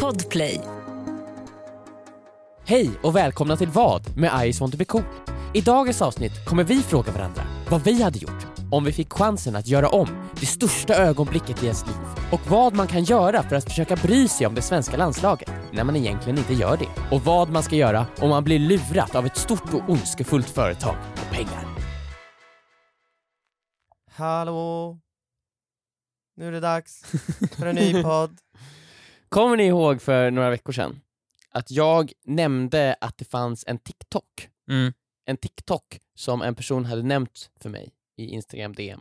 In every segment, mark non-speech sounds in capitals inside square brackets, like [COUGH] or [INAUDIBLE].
Podplay. Hej och välkomna till Vad med I just want to be cool. I dagens avsnitt kommer vi fråga varandra vad vi hade gjort om vi fick chansen att göra om det största ögonblicket i ens liv och vad man kan göra för att försöka bry sig om det svenska landslaget när man egentligen inte gör det. Och vad man ska göra om man blir lurat av ett stort och ondskefullt företag på pengar. Hallå! Nu är [LAUGHS] det dags för en ny podd. Kommer ni ihåg för några veckor sedan att jag nämnde att det fanns en TikTok? Mm. En TikTok som en person hade nämnt för mig i Instagram DM.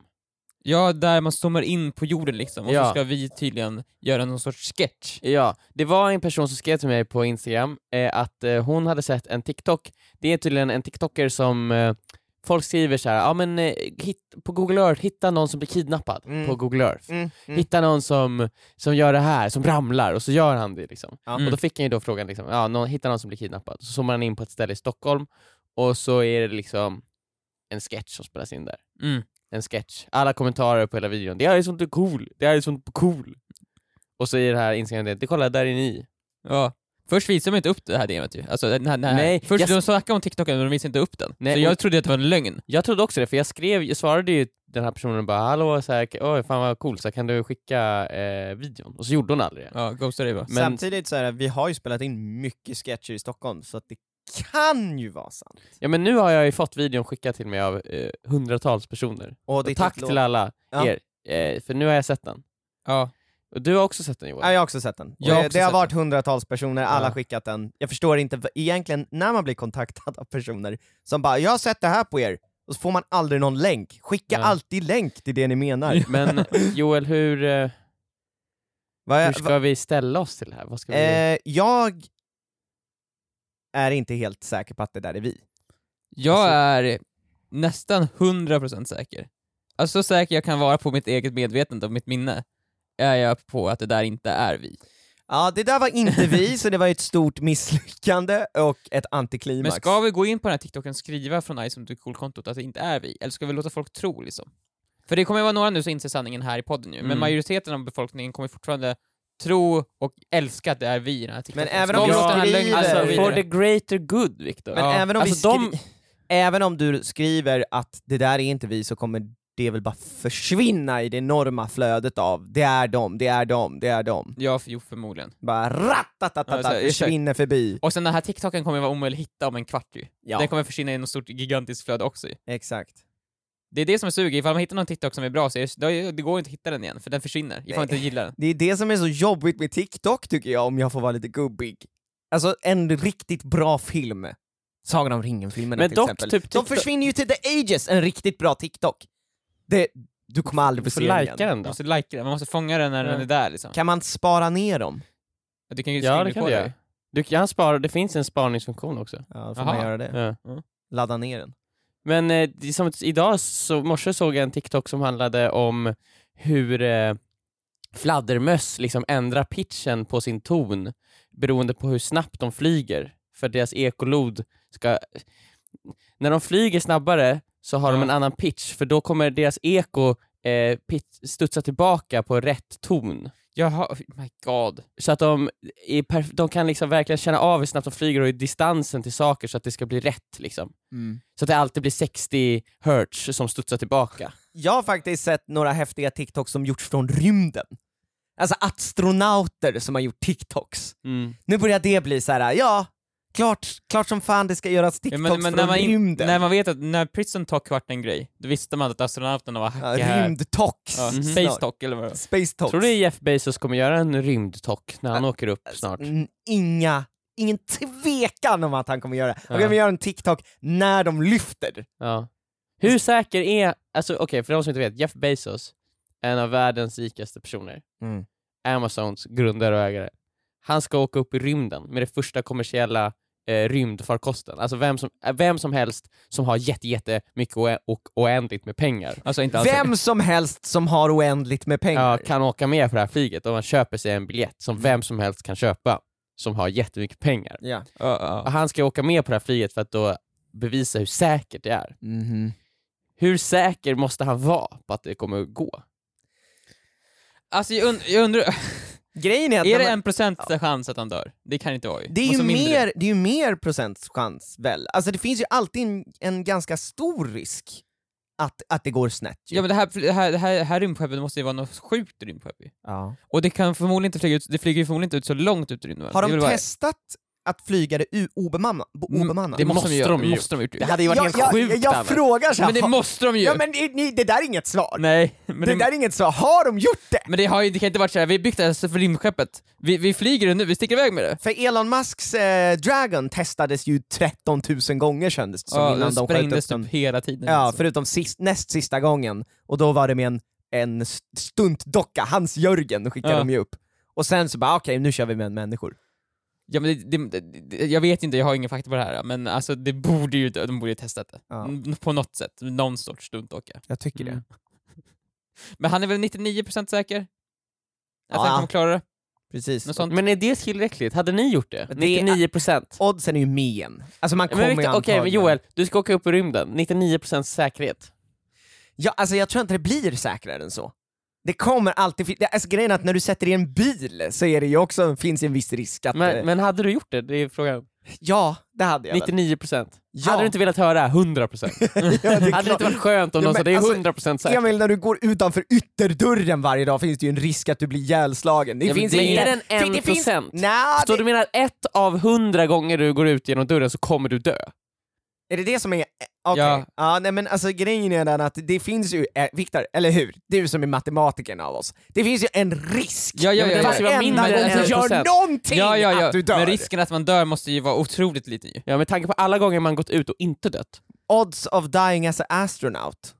Ja, där man zoomar in på jorden liksom, och Ja. så ska vi tydligen göra någon sorts sketch. Ja, det var en person som skrev till mig på Instagram eh, att eh, hon hade sett en TikTok. Det är tydligen en TikToker som eh, folk skriver så här, ja men eh, hit, på Google Earth, hitta någon som blir kidnappad Mm. på Google Earth. Mm, mm. Hitta någon som, som gör det här, som ramlar, och så gör han det liksom. Ja. Mm. Och då fick han ju då frågan, liksom, ja, någon, hitta någon som blir kidnappad. Så zoomar han in på ett ställe i Stockholm, och så är det liksom en sketch som spelas in där. Mm. En sketch. Alla kommentarer på hela videon, det här är sånt och cool, det här är sånt cool. Och så i det här Instagram, det kolla där är ni. Ja. Först visade de inte upp det här DMet ju. Alltså, den här, den här. Nej, Först jag- de snackade om TikToken men de visade inte upp den. Nej, så och- jag trodde att det var en lögn. Jag trodde också det, för jag skrev, jag svarade ju den här personen bara hallå, så här, oj, fan vad cool, så här, kan du skicka eh, videon? Och så gjorde hon aldrig det. Ja, ghostade dig bara. men- Samtidigt så är det, vi har ju spelat in mycket sketcher i Stockholm, så att det kan ju vara sant. Ja men nu har jag ju fått videon skickad till mig av eh, hundratals personer. Och Och tack till alla Ja. er, eh, för nu har jag sett den. Ja. Och du har också sett den Ja, Johan? jag har också sett den. Och Jag har det också det har sett varit hundratals personer, alla Ja. skickat den. Jag förstår inte v- egentligen när man blir kontaktad av personer som bara “jag har sett det här på er” och så får man aldrig någon länk. Skicka Ja. alltid länk till det ni menar. Men Joel, hur, Äh, eh, Vad jag- hur ska vi ställa oss till det här? Vad ska vi... Eh, jag är inte helt säker på att det där är vi. [LAUGHS] Jag Alltså- är nästan 100% säker. Alltså så säker jag kan vara på mitt eget medvetande och mitt minne, är jag på att det där inte är vi. Ja, det där var inte [LAUGHS] vi, så det var ju ett stort misslyckande och ett antiklimax. Men ska vi gå in på den här TikToken och skriva från Ice som kontot att det inte är vi? Eller ska vi låta folk tro liksom? För det kommer ju vara några nu som inser sanningen här i podden ju, Mm. men majoriteten av befolkningen kommer fortfarande tro och älska att det är vi i den här TikToken. Men även Ska om vi vi låta den här skriver- lögnen alltså, gå vidare? for the greater good Viktor. Men Ja. även, om Alltså, vi de- skri... även om du skriver att det där är inte vi så kommer det väl bara försvinna i det enorma flödet av det är dem, det är dem, det är dem. Ja, för, jo, förmodligen. Bara Ja, så- rattatatata, exakt. försvinner förbi. Och sen den här TikToken kommer vara omöjlig att hitta om en kvart ju. Ja, Den kommer försvinna i något stort gigantiskt flöde också ju. exakt. Det är det som är suger, ifall man hittar någon TikTok som är bra så är det, det går inte att hitta den igen, för den försvinner ifall man inte gillar den. Det är det som är så jobbigt med TikTok tycker jag, om jag får vara lite gubbig. Alltså en riktigt bra film. Sagan om ringen-filmerna Men till dock, exempel. typ De TikTok- försvinner ju till the ages, en riktigt bra TikTok. Det, du kommer aldrig få Du får se den lajka igen. den Man då. måste likea den, man måste fånga den när Ja. den är där liksom. Kan man spara ner dem? Du kan ju Ja det skriva kan på du det. göra. Du kan spara, det finns en sparningsfunktion också. Ja, då får Aha. man göra det. Ja. Ladda ner den. Men eh, det är som att idag så morse såg jag en TikTok som handlade om hur eh, fladdermöss liksom ändrar pitchen på sin ton beroende på hur snabbt de flyger. För deras ekolod ska... När de flyger snabbare så har de Ja. en annan pitch för då kommer deras eko eh, pit- studsa tillbaka på rätt ton. Jaha, oh my god. Så att de, är perf- de kan liksom verkligen känna av hur snabbt de flyger och i distansen till saker så att det ska bli rätt liksom. Så att det alltid blir 60 hertz som studsar tillbaka. Jag har faktiskt sett några häftiga TikToks som gjorts från rymden. Alltså astronauter som har gjort TikToks. Mm. Nu börjar det bli så här: ja, klart, klart som fan det ska göras Ja, TikToks men, men när, från man in, rymden. när man vet att när Prison Talk vart en grej, då visste man att astronauterna var hackiga Ja, här. Rymdtox. [LAUGHS] Ja, Mhm. Space Talk eller vad det var. Space Tox. Tror du Jeff Bezos kommer göra en rymdtock när han åker upp snart? Mm, Inga, ingen tvekan om att han kommer göra det. Han Ja. kommer göra en TikTok när de lyfter. Ja. Hur säker är, alltså okej för de som inte vet, Jeff Bezos, en av världens rikaste personer, Mm. Amazons grundare och ägare, han ska åka upp i rymden med det första kommersiella eh, rymdfarkosten. Alltså vem som, eh, vem som helst som har jätte, jättemycket och, och oändligt med pengar Alltså inte alls. Vem som helst som har oändligt med ja, pengar. Mm. kan åka med på det här flyget och man köper sig en biljett som vem som helst kan köpa, som har jättemycket pengar. Ja. Ja, ja. Och han ska åka med på det här flyget för att då bevisa hur säkert det är. Mhm. Hur säker måste han vara på att det kommer att gå? [LAUGHS] Alltså jag, und jag undrar... Grejen är att Är när det man- en procent chans att han dör? Det kan det inte vara ju. det är, ju Alltså mindre. mer, det är ju mer procents chans väl? Alltså det finns ju alltid en, en ganska stor risk att, att det går snett. ju. Ja men det här, det här, det här, det här rymdskeppet måste ju vara något sjukt rymdskepp ju. Ja. Och det kan förmodligen inte flyga ut, det flyger ju förmodligen inte ut så långt ut i rymden. Har Det är de väl bara- testat att flyga det u- obemannat? bo- Mm, obemannat? Det måste de, Måste göra. de ju Det måste de gjort. ju. Det hade ju varit jag, helt jag, sjukt jag, Anna. frågar så här, Men det ha- måste de ju! Ja men det, ni- det där är inget svar. Nej, men det, det, där är inget svar. Har de gjort det? men det, har ju, det kan inte varit såhär, vi har byggt det här för rymdskeppet, vi, vi flyger det nu, vi sticker iväg med det. För Elon Musks eh, Dragon testades ju 13 000 gånger kändes det som ja, innan den de sköt upp sprängdes den. typ hela tiden. Ja, alltså. förutom sist, näst sista gången, och då var det med en, en st- stuntdocka, hans Jörgen, skickade Ja. de ju upp. Och sen så bara, okej nu kör vi med människor. ja, men det, det, det- det, jag vet inte, jag har ingen fakta på det här, men alltså det borde ju, de borde ju testat det. Ja. N- På något sätt, någon sorts stuntdocka. Jag tycker Mm. Men han är väl 99% säker? Att Ja. han kommer klara det? Precis. Något sånt. Men är det tillräckligt? Hade ni gjort det? Det är- 99 procent? Oddsen är ju men. Alltså man kommer Okej, ju men antagligen- Joel, du ska åka upp i rymden. 99 procents säkerhet. Ja, alltså jag tror inte det blir säkrare än så. Det kommer alltid fin- det- alltså grejen är att när du sätter i en bil så är det ju också, finns en viss risk att... eh, Men, men hade du gjort det? Det är frågan. Ja, det hade jag väl. 99 procent. Ja. Hade du inte velat höra 100 procent? [LAUGHS] Ja, det är Hade det klart. inte varit skönt om Ja, någon men sa det är alltså, 100 procent säkert? Emil, när du går utanför ytterdörren varje dag finns det ju en risk att du blir ihjälslagen. Det Ja, men finns det är ingen- mer än Fin- 1%. det finns- Nja, Så det- du menar att ett av hundra gånger du går ut genom dörren så kommer du dö? Är det det som är... eh, Okej. Ja. Ja. nej men alltså grejen är den att det finns ju, eh, Viktor, eller hur? Du som är matematikern av oss. Det finns ju en risk Ja, ja, Alltså, ja, ja. Det måste ju vara varenda mindre gång än du 1%. gör någonting Ja, ja, ja. att du dör. Men risken att man dör måste ju vara otroligt liten ju. Ja, med tanke på alla gånger man gått ut och inte dött. Odds of dying as an astronaut.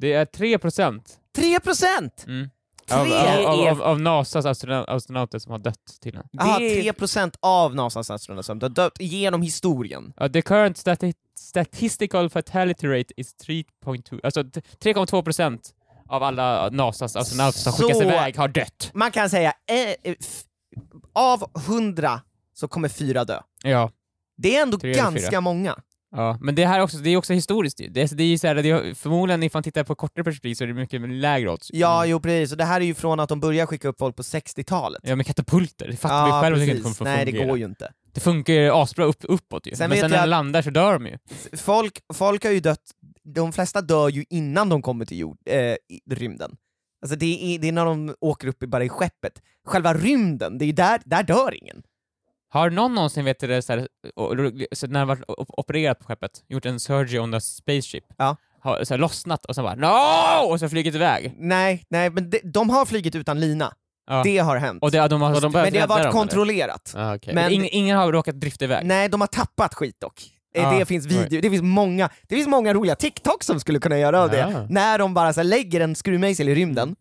Det är 3 procent 3%! Mm. av, Tre av, av, är- av, av Nasas astronaut, astronauter som har dött till den. Jaha, Det är- 3% av Nasas astronauter som har dött genom historien. Ja, Uh, the current stati statistical fatality rate is 3.2, alltså t- 3,2 procent av alla Nasas astronauter som Så- skickas iväg har dött. Man kan säga, eh, eh, f- av 100 så kommer fyra dö. Ja. Det är ändå Tre eller fyra. ganska många. Ja, men det här också, det är också historiskt ju. Det är, det är ju så här, det är, förmodligen ifall man tittar på kortare perspektiv så är det mycket lägre odds. Ja, jo precis. Och det här är ju från att de började skicka upp folk på 60-talet. Ja men katapulter, det fattar vi själva att det inte kommer få Nej, det fungera. går ju inte. Det funkar ju asbra upp, uppåt ju, Sen men vet sen när jag de att- landar så dör de ju. Folk, folk har ju dött, de flesta dör ju innan de kommer till jord, eh, i rymden. Alltså det är, det är när de åker upp i, bara i skeppet. Själva rymden, det är ju där, där dör ingen. Har någon någonsin vet du det, så här, och- så när de varit o- opererat på skeppet, gjort en surgery on the spaceship, Ja. har så här, lossnat och sen bara no! och så flugit iväg? Nej, nej men de, de har flugit utan lina. Ja. Det har hänt. Och det, de har, Och de bör- men det har räddar varit dem, eller? kontrollerat. Ah, okay. Men- ingen, ingen har råkat drifta iväg. Nej, de har tappat skit dock. Eh, Ah, Det finns video, det finns, många, det finns många roliga TikToks som skulle kunna göra av det. Ah. När de bara så här, lägger en skruvmejsel i rymden,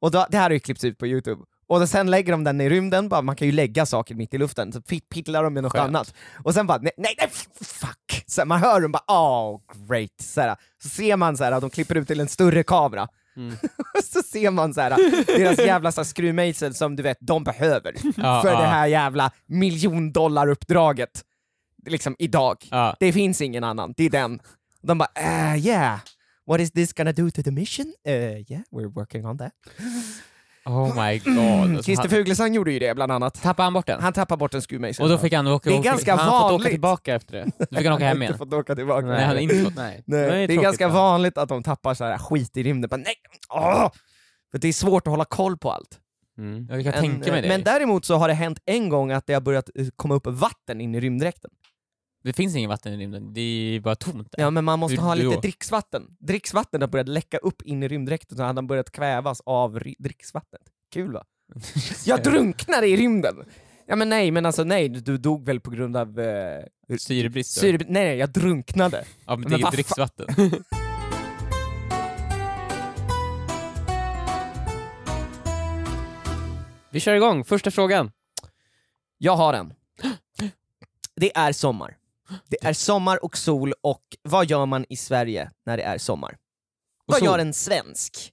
och då, det här har ju klippts ut på youtube, och då, sen lägger de den i rymden, bara, man kan ju lägga saker mitt i luften, så fit- pittlar de med något Skönt. annat. Och sen bara nej, nej, nej f- fuck! Så här, man hör dem bara oh great, så, här, så ser man så här, att de klipper ut till en större kamera. Mm. Och [LAUGHS] så ser man så här, deras jävla så här skruvmejsel som du vet, de behöver Ja, för ja. det här jävla miljondollaruppdraget. Liksom idag. Ja. Det finns ingen annan, det är den. De bara eh, yeah, what is this gonna do to the mission? Eh, yeah, we're working on that. Oh my god. Alltså, Christer han, Fuglesang gjorde ju det bland annat. tappade han bort den? Mm. Han tappade bort en skruvmejsel. och då fick han åka, Det är åka- ganska han har fått vanligt. åka tillbaka efter det. Då fick han [LAUGHS] åka hem inte igen. fått åka tillbaka. Nej, han har inte fått. Nej. Nej, Det är det är tråkigt, ganska ja. vanligt att de tappar så här skit i rymden. Bara, nej, åh! För det är svårt att hålla koll på allt. Mm. Jag kan Men, eh, tänka mig det. Men däremot så har det hänt en gång att det har börjat eh, komma upp vatten in i rymddräkten. Det finns ingen vatten i rymden, det är ju bara tomt där. Ja men man måste Hur ha då? lite dricksvatten. Dricksvatten har börjat läcka upp in i rymddräkten så hade han börjat kvävas av ri- dricksvattnet. Kul va? Jag drunknade i rymden! Ja men nej, men alltså nej, du dog väl på grund av... Eh, Syrebrist. då. syre... Nej, nej, jag drunknade. Ja, men Men det är ju vad fa- dricksvatten. [LAUGHS] Vi kör igång, första frågan. Jag har en. Det är sommar. Det är sommar och sol och vad gör man i Sverige när det är sommar? Vad sol. gör en svensk?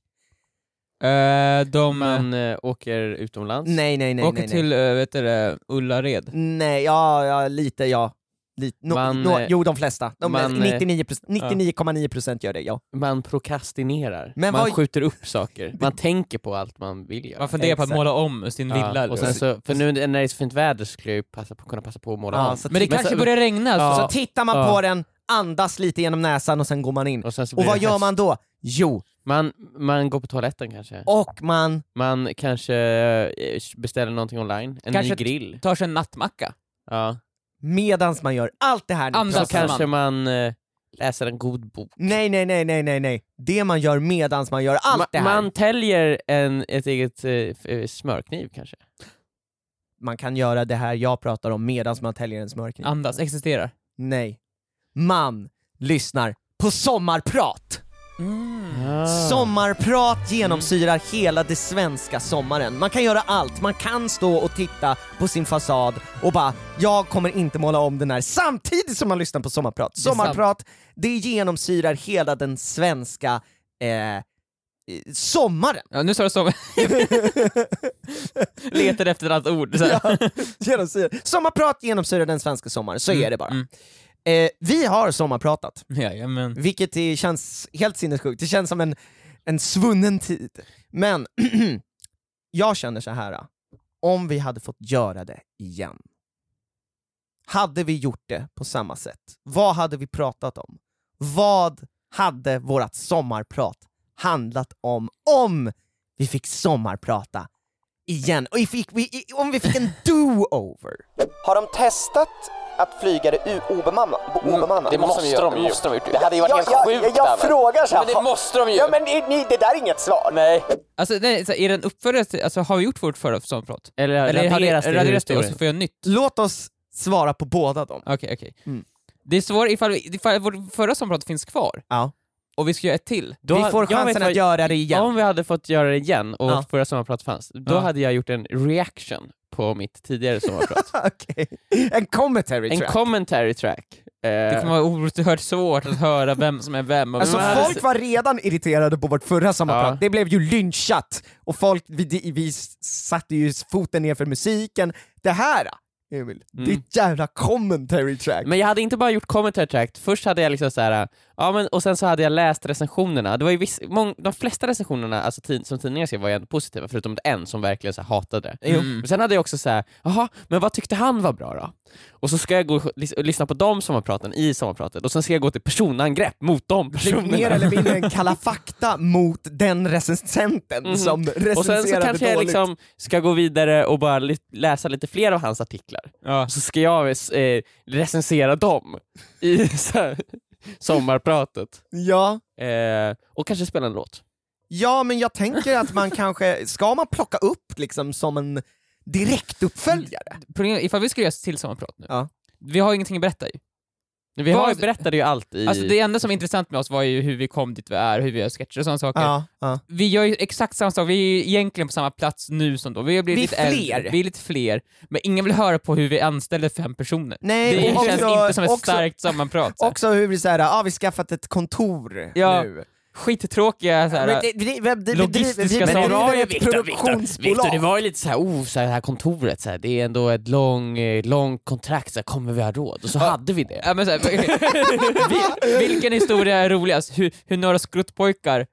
Eh, de... Man eh, åker utomlands. Nej, nej, nej. åker nej, nej. till, eh, vet du det, Ullared. Nej, ja, ja lite ja. lite, no, Man, no, eh, jo de flesta. De, man, eh, 99%, 99,9 procent gör det, ja. Man prokrastinerar, Men man vad- skjuter upp [LAUGHS] saker, man tänker på allt man vill göra. Man funderar på att Exakt. måla om sin villa. liksom. Ja, eller och vad? sen så, för nu när det är så fint väder så skulle jag ju passa på, kunna passa på att måla Ja, om. så men det Men kanske så- börjar regna. alltså, Ja. Så, Så tittar man Ja. på den, andas lite genom näsan och sen går man in. Och, sen så Och blir vad det gör häst. man då? Jo, Man, man går på toaletten kanske. och man... Man kanske eh, beställer någonting online, en ny Kanske grill. tar sig en nattmacka. Ja. Medans man gör allt det här... ni Andas Så pratar om. kanske man eh, läser en god bok. Nej, nej, nej, nej, nej, nej. Det man gör medans man gör allt Ma- det här. Man täljer en, ett eget eh, f- eh, smörkniv kanske. man kan göra det här jag pratar om medans man täljer en smörkniv. Andas, existerar. Nej. Man lyssnar på sommarprat. Ah. Sommarprat genomsyrar hela det svenska sommaren. Man kan göra allt. Man kan stå och titta på sin fasad och bara “jag kommer inte måla om den här” samtidigt som man lyssnar på sommarprat. är sant. Sommarprat, det genomsyrar hela den svenska eh, eh, sommaren. Ja, nu [LAUGHS] sa du som... Letade efter ett annat ord. Så här. [LAUGHS] genomsyrar. Sommarprat genomsyrar den svenska sommaren, så är det bara. mm. Eh, vi har sommarpratat, Jajamän. vilket det känns helt sinnessjukt. Det känns som en, en svunnen tid. Men [CLEARS THROAT] jag känner så här. om vi hade fått göra det igen, hade vi gjort det på samma sätt? Vad hade vi pratat om? Vad hade vårt sommarprat handlat om, om vi fick sommarprata igen? Och if vi, i- om vi [LAUGHS] fick en do-over? Har de testat att flyga det obemannat? Det måste, de ju. Måste de ju. Det hade ju varit helt sjukt. David. frågar så Men det måste de ju. men det där är inget svar. Nej. Alltså, nej, så här, är den uppföljare till- alltså, har vi gjort vårt förra sommarprat? Eller, Eller har raderas det ur raderas det och historien? så får jag nytt? Låt oss svara på båda dem. Okej, okej. Mm. Det är svårt ifall, vi- ifall vårt förra sommarprat finns kvar Ja. och vi ska göra ett till. Då vi ha- får jag vet chansen vad- att göra det igen. Om vi hade fått göra det igen och Ja. vårt förra sommarprat fanns, då Ja. hade jag gjort en reaction på mitt tidigare sommarprat. [LAUGHS] Okej. En commentary en track. commentary track. Eh, Det kommer vara oerhört svårt att höra vem som är vem. Och vem Alltså som är- folk var redan irriterade på vårt förra sommarprat, Ja. det blev ju lynchat! Och folk, vi, di- vi s- satte ju foten ner för musiken. Det här, Emil, Mm. det är ett jävla commentary track. Men jag hade inte bara gjort commentary track, först hade jag liksom så här, ja men och sen så hade jag läst recensionerna. Det var ju viss, mång, de flesta recensionerna alltså, tid, som tidningar skrev var ju ändå positiva, förutom en som verkligen så här, hatade det. Men sen hade jag också så här, jaha, men vad tyckte han var bra då? Och så ska jag gå och lys- och lyssna på de sommarpraten i sommarpratet, och sen ska jag gå till personangrepp mot de Det är mer personerna. eller mindre [LAUGHS] en Kalla fakta mot den recensenten Mhm. som Och sen så recenserade kanske jag dåligt. liksom ska gå vidare och bara li- läsa lite fler av hans artiklar. Ja. Så ska jag eh, recensera dem i så här, sommarpratet. Ja. Eh, och kanske spela en låt. ja, men jag tänker att man kanske, ska man plocka upp liksom som en direktuppföljare? Problemet- Ifall vi skulle göra ett till sommarprat nu, Ja. vi har ingenting att berätta ju. Vi har, ju- Vad- berättade ju allt i... Alltså det enda som är intressant med oss var ju hur vi kom dit vi är, hur vi gör sketcher och sådana Mm. saker. Ja, ja. Vi gör ju exakt samma sak, vi är ju egentligen på samma plats nu som då. Vi har blivit Vi är lite fler. äldre, vi är lite fler, men ingen vill höra på hur vi anställde fem personer. Nej, Det och känns också- inte som ett också- starkt sammanprat. så här. Också hur vi säger, ja ah, vi skaffat ett kontor Ja. nu. Skittråkiga såhär... Men det- det- det- det- logistiska vi- vi- saker. vi- Men det var vi- ett Viktor, det produktionsbolag. var ju lite såhär, oh, så här, det här kontoret, så här, det är ändå ett lång, eh, lång kontrakt, så här, kommer vi ha råd? Och så hade vi det. Ja, men så här, [LAUGHS] vi, vilken historia är roligast? Hur, hur några skruttpojkar,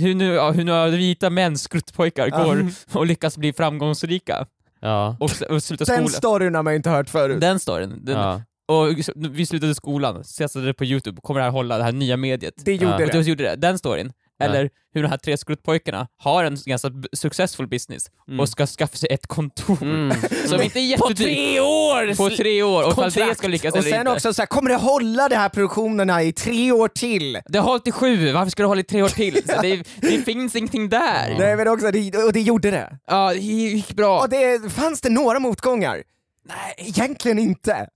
hur, nu, ja, hur några vita män skruttpojkar går och lyckas bli framgångsrika Ja. och, sl- och slutar Den skolan. storyn har man ju inte hört förut. Den storyn. Den, ja. Och s- vi slutade skolan, satsade det på YouTube, kommer det här hålla, det här nya mediet? Det gjorde Ja. Och det. det gjorde det. Den storyn. Eller hur de här tre skruttpojkarna har en ganska b- successful business Mm. och ska skaffa sig ett kontor [LAUGHS] Mm. som inte är På jättedyrt. tre år! På tre år! Och ifall det Kontrakt. ska lyckas Och eller sen inte. också så här, kommer det hålla de här produktionerna i tre år till? Det har hållit i sju, varför ska det hålla i tre år till? Så [LAUGHS] det, det finns ingenting där. Mm. Nej men också, det, och det gjorde det. Ja, det gick bra. Och det, fanns det några motgångar? Nej, egentligen inte.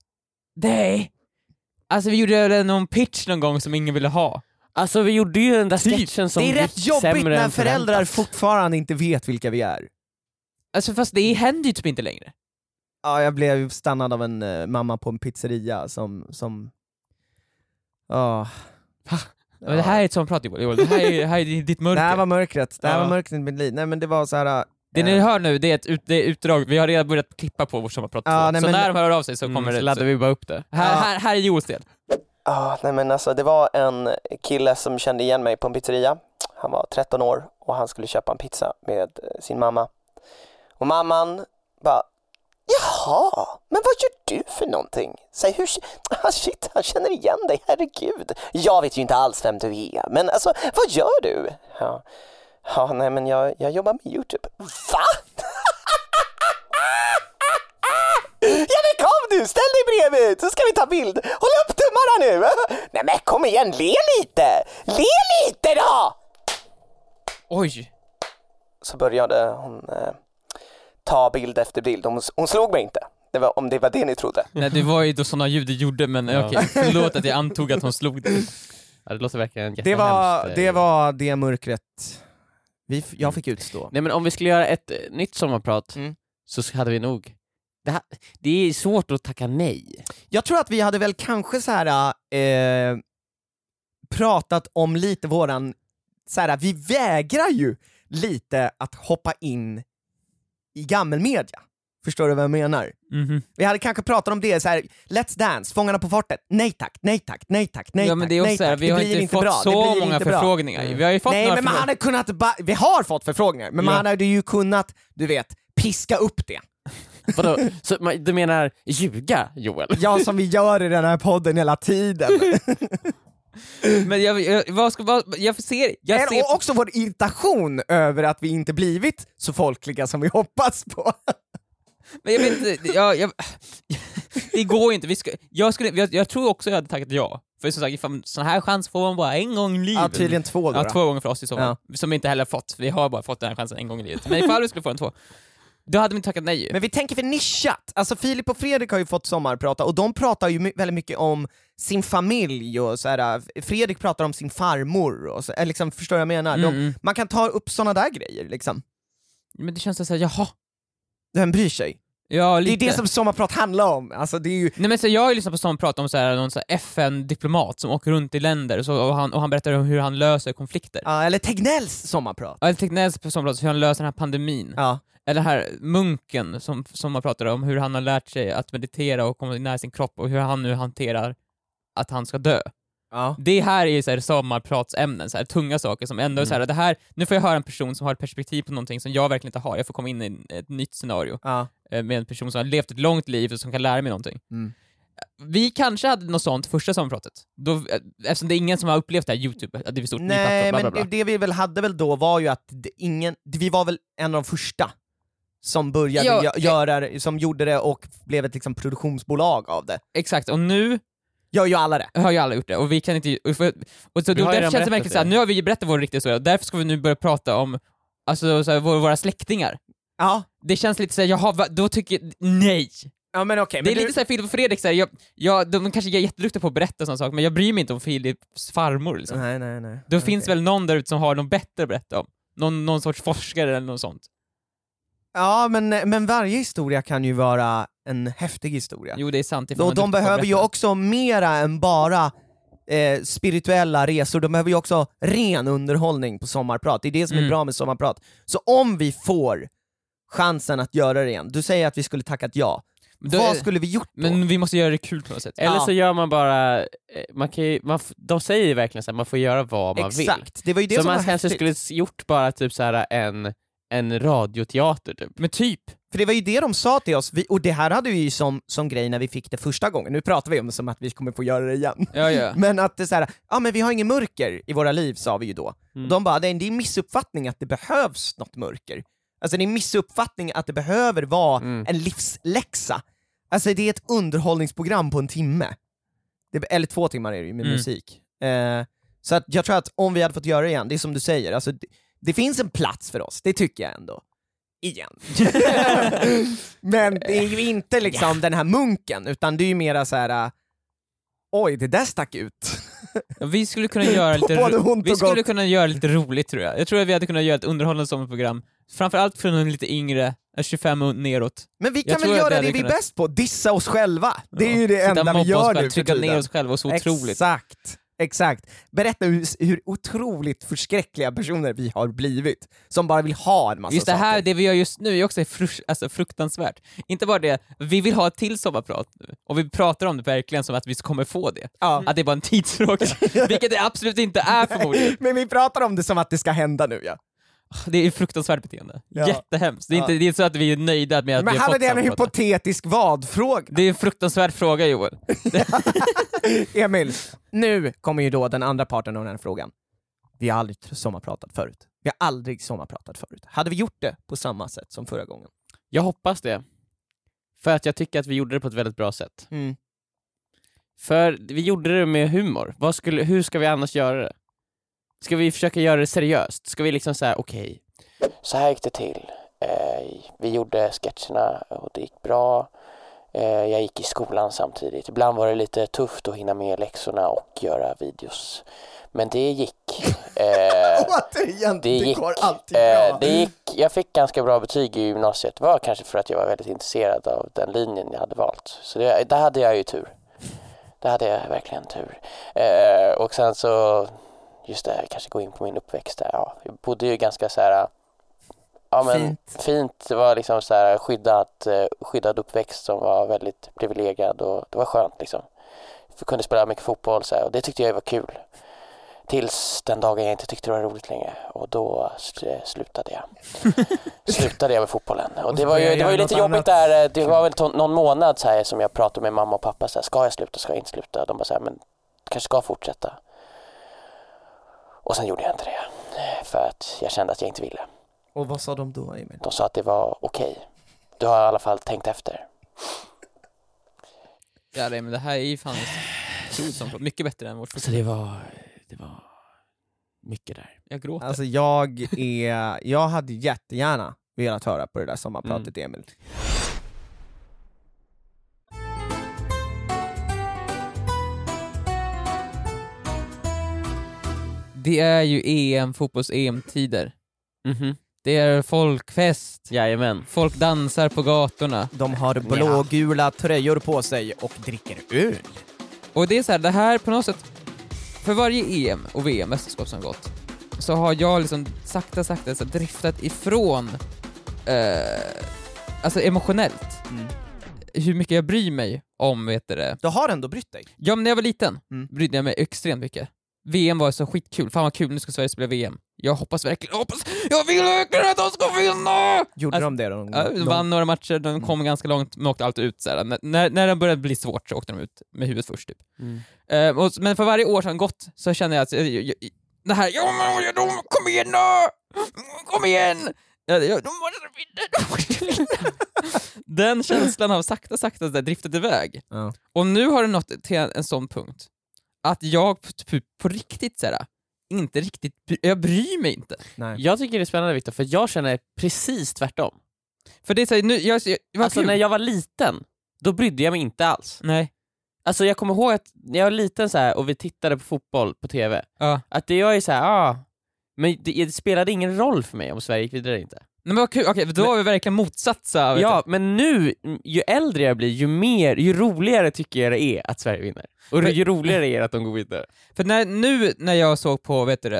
Nej. Alltså vi gjorde väl någon pitch någon gång som ingen ville ha. [LAUGHS] Alltså vi gjorde ju den där Typ. sketchen som det är gick rätt jobbigt sämre när än föräldrar förväntat. fortfarande inte vet vilka vi är. Alltså fast det händer ju typ inte längre. Ja, jag blev stannad av en eh, mamma på en pizzeria som... som... ja. Men det här är ett sånt prat Joel, det här är, det här är ditt Det här mörker. var mörkret, det här Ja. var mörkret i mitt liv. Nej men det var så här. Det ni hör nu det är ett ut, det är utdrag, vi har redan börjat klippa på vårt sommarprat. Ja, två. nej, så men- Mm, när de hör av sig så Mm, kommer så det... laddar vi bara upp det. Här, Ja. här, här är Joels del. Ah, nej men alltså, det var en kille som kände igen mig på en pizzeria. Han var 13 år och han skulle köpa en pizza med eh, sin mamma. Och mamman bara, jaha, men vad gör du för någonting? Säg hur, [LAUGHS] ah, shit, han känner igen dig, herregud. Jag vet ju inte alls vem du är, men alltså, vad gör du? Ja, ja nej men jag, jag jobbar med YouTube. Va? Ja men kom du, ställ dig bredvid så ska vi ta bild. Håll upp tummarna nu. [LAUGHS] Nej men kom igen, le lite. Le lite då! Oj! [LAUGHS] Så började hon eh, ta bild efter bild. Hon, hon slog mig inte. Det var, om det var det ni trodde. Nej, det var ju då sådana ljud du gjorde, men Ja. okej, förlåt att jag antog att hon slog dig. Ja, det låter verkligen Det var, eh. jättehemskt. det var det mörkret vi f- jag fick utstå. Nej men om vi skulle göra ett eh, nytt sommarprat Mm. så hade vi nog... Det, här, det är svårt att tacka nej. Jag tror att vi hade väl kanske så här eh, pratat om lite våran, så här, vi vägrar ju lite att hoppa in i gammelmedia. Förstår du vad jag menar? Mhm. Vi hade kanske pratat om det, så här, Let's Dance, Fångarna på fortet, nej tack, nej tack, nej tack, nej Ja tack, men det är nej också tack, så här, vi har blir inte, fått bra, det så blir många inte bra. Mm. förfrågningar. Vi har ju fått Nej några men man förfrågningar. hade kunnat, ba- vi har fått förfrågningar, men man hade ju kunnat, du vet, piska upp det. Vadå? så, man- du menar ljuga, Joel? Ja, som vi gör i den här podden hela [LAUGHS] tiden. Men jag, jag, vad ska, vad, jag ser, jag Men, ser och också vår irritation över att vi inte blivit så folkliga som vi hoppas på. Men jag vet inte, jag, jag, [LAUGHS] det går ju inte. Vi ska, jag, skulle, jag, jag tror också jag hade tackat ja. För som sagt, ifall- sån här chans får man bara en gång i livet. två Ja, två gånger för oss i sommar. Som vi inte heller fått. Vi har bara fått den här chansen en gång i livet. Men ifall vi skulle få den två, då hade vi inte tackat nej ju. Men vi tänker för nischat. Alltså Filip och Fredrik har ju fått sommarprata och de pratar ju my- väldigt mycket om sin familj och så här. äh, Fredrik pratar om sin farmor och så, äh, liksom, förstår du vad jag menar? Mm, De, mm. man kan ta upp såna där grejer liksom. Men det känns såhär, jaha. Vem bryr sig? Ja, Det är lite. det som sommarprat handlar om. Alltså det är ju Nej men så jag har ju lyssnat på sån prat om så här, någon så här FN-diplomat som åker runt i länder och, så, och, han, och han berättar om hur han löser konflikter. Ja, eller Tegnells sommarprat. Ja. Eller Tegnells på sån prat, hur han löser den här pandemin. Ja. Eller den här munken som, som man pratade om, hur han har lärt sig att meditera och komma nära sin kropp och hur han nu hanterar att han ska dö. Ja. Det här är ju så här sommarpratsämnen, så här, tunga saker som ändå är Mm. så här, det här, nu får jag höra en person som har ett perspektiv på någonting som jag verkligen inte har, jag får komma in i ett nytt scenario Ja. eh, med en person som har levt ett långt liv och som kan lära mig någonting. Mm. Vi kanske hade något sånt första sommarpratet, då, eh, eftersom det är ingen som har upplevt det här Youtube, att det är stort, ny plattform, Nej, bla, men bla, bla. det- det vi väl hade väl då var ju att det- ingen, vi var väl en av de första som började Ja, eh. gö- det- göra det- som gjorde det och blev ett liksom produktionsbolag av det. Exakt, och nu Gör ju alla det. har ju alla gjort det och vi kan inte... Och för, och Vi så, då, har ju därför redan känns det berättat märkligt det. såhär, nu har vi ju berättat vår riktiga historia, därför ska vi nu börja prata om alltså, såhär, våra, våra släktingar. Ja, Det känns lite såhär, jaha, va, då tycker... Nej! ja men okej. det är men du- lite såhär Filip och Fredrik, såhär, jag, jag, de kanske är jätteduktiga på att berätta sådana saker, men jag bryr mig inte om Filips farmor liksom. Nej, nej, nej. Då Okej. finns väl någon där ute som har något bättre att berätta om. Någon, någon sorts forskare eller något sånt. Ja, men, men varje historia kan ju vara en häftig historia. Jo, det är sant. ifall Och man de duktig på att behöver ju berätta. också mera än bara eh, spirituella resor, de behöver ju också ren underhållning på sommarprat. Det är det som är Mm. bra med sommarprat. Så om vi får chansen att göra det igen, du säger att vi skulle tackat ja. Då- Vad skulle vi gjort då? Men vi måste göra det kul på något sätt. Eller Ja. så gör man bara... eh, Man kan ju, man, f- de säger ju verkligen att man får göra vad man vill. Exakt, det var ju det så som man var kanske häftigt. skulle s- gjort bara typ så här en, en radioteater typ. Men typ, För det var ju det de sa till oss, vi, och det här hade vi ju som, som grej när vi fick det första gången, nu pratar vi om det som att vi kommer få göra det igen. ja ja. Men att det är så här, ja men vi har ingen mörker i våra liv sa vi ju då. Och de bara, det är en det är en missuppfattning att det behövs något mörker. Alltså det är en missuppfattning att det behöver vara en livsläxa. Alltså det är ett underhållningsprogram på en timme. Det, eller två timmar är det ju med Mm. musik. Eh, så att jag tror att om vi hade fått göra det igen, det är som du säger, alltså det, det finns en plats för oss, det tycker jag ändå. Igen. [LAUGHS] Men det är ju inte liksom den här munken, utan det är ju mera så här. eh, oj det där stack ut. Vi [LAUGHS] skulle kunna göra lite, Både ont och vi skulle gott. kunna göra lite roligt tror jag. Jag tror att vi hade kunnat göra ett underhållande sommarprogram, framförallt för någon lite yngre, 25 och neråt. Men vi Jag kan väl tror att göra det det, hade vi är kunnat- bäst på, dissa oss själva. Det är Ja. ju det Sitta och enda vi mobba oss gör själva, nu för Trycka ner tiden. oss själva och så otroligt. Exakt. Exakt. Berätta hur, hur otroligt förskräckliga personer vi har blivit, som bara vill ha en massa Just det här, saker. det vi gör just nu är också frus- alltså fruktansvärt. Inte bara det, vi vill ha ett till sommarprat nu. Och vi pratar om det verkligen som att vi kommer få det. Ja. Att det är bara en [LAUGHS] tidsfråga. Vilket det absolut inte är förmodligen. Men vi pratar om det som att det ska hända nu ja. Det är fruktansvärt beteende. Ja. Jättehemskt. Det är, Ja. inte, det är så att vi är nöjda med att Men vi har hade fått det en samtalet. hypotetisk vadfråga? Det är en fruktansvärd fråga Joel. Emil, nu kommer ju då den andra parten av den här frågan. Vi har aldrig sommarpratat förut. Vi har aldrig sommarpratat förut. Hade vi gjort det på samma sätt som förra gången? Jag hoppas det. För att jag tycker att vi gjorde det på ett väldigt bra sätt. Mm. För vi gjorde det med humor. Vad skulle, hur ska vi annars göra det? Ska vi försöka göra det seriöst? Ska vi liksom säga okej, Så här gick det till. Eh, vi gjorde sketcherna och det gick bra. Eh, jag gick i skolan samtidigt. Ibland var det lite tufft att hinna med läxorna och göra videos. Men det gick. Eh, Återigen, det gick. alltid Eh, Mm. det gick. Jag fick ganska bra betyg i gymnasiet. Det var kanske för att jag var väldigt intresserad av den linjen jag hade valt. Så det, där hade jag ju tur. Där hade jag verkligen tur. Eh, och sen så, just det, jag kanske gå in på min uppväxt där. Ja, jag bodde ju ganska så här Ja, men Fint. fint. Det var liksom så här skyddat, eh, skyddad uppväxt som var väldigt privilegierad och det var skönt liksom. Jag kunde spela mycket fotboll så här, och det tyckte jag var kul. Tills den dagen jag inte tyckte det var roligt längre och då sl- slutade jag. [LAUGHS] slutade jag med fotbollen. Och Och det så var ju, började det var ju jag lite göra något jobbigt där. eh, Det var väl to- någon månad så här, som jag pratade med mamma och pappa. Så här, ska jag sluta, ska jag inte sluta? De bara så här, men du kanske ska fortsätta. Och sen gjorde jag inte det. För att jag kände att jag inte ville. Och vad sa de då Emil? De sa att det var okej. Du har i alla fall tänkt efter. Ja, nej, men det här är ju fan otroligt samtal. Mycket bättre än vårt Så första. det var, det var mycket där. Jag [LAUGHS] gråter. Alltså jag är, jag hade jättegärna velat höra på det där sommarpratet Mm. Emil. Det är ju E EM, fotbolls-EM-tider. Mhm. Det är folkfest. Jajamän. Folk dansar på gatorna. De har blågula tröjor på sig och dricker öl. Och det är så här, det här på något sätt, för varje EM och VM, mästerskap som gått, så har jag liksom sakta, sakta så här, driftat ifrån, eh, alltså emotionellt, Mm. hur mycket jag bryr mig om, vet du det. Du har ändå brytt dig. Ja, men när jag var liten Mm. brydde jag mig extremt mycket. VM var så skitkul, fan vad kul, nu ska Sverige spela VM. Jag hoppas verkligen, jag hoppas, jag vill verkligen att de ska vinna! Gjorde Alltså, de det någon Ja, de Mm, någon- vann några matcher, de kom ganska långt, men åkte alltid ut så här. N- När, när det började bli svårt så åkte de ut med huvudet först typ. Mm. Eh, och, s- men för varje år som gått så känner jag att eh, jag, jag, jag, det här, ja men de, de, kom igen nu! Kom igen! Ja, det- ja, de måste vinna, de måste vinna! [LAUGHS] Den känslan har sakta, sakta så där driftat iväg. Ja. Och nu har det nått till en, en sån punkt att jag på, typ på riktigt så här, inte riktigt, bry- jag bryr mig inte. Nej. Jag tycker det är spännande Viktor, för jag känner precis tvärtom. För det är så här, nu, jag, jag, vad Alltså kul. när jag var liten, då brydde jag mig inte alls. Nej. Alltså jag kommer ihåg att när jag var liten så här och vi tittade på fotboll på TV, Ja. att det jag är så här, ah, men det, det spelade ingen roll för mig om Sverige gick vidare eller inte. Nej men vad kul, okej då har vi verkligen motsatsa. vet Ja, men nu, mm, ju äldre jag blir, ju, mer, ju roligare tycker jag det är att Sverige vinner. Och Men- ju roligare är det att de går vidare. du. För när, nu när jag såg på, vet du det,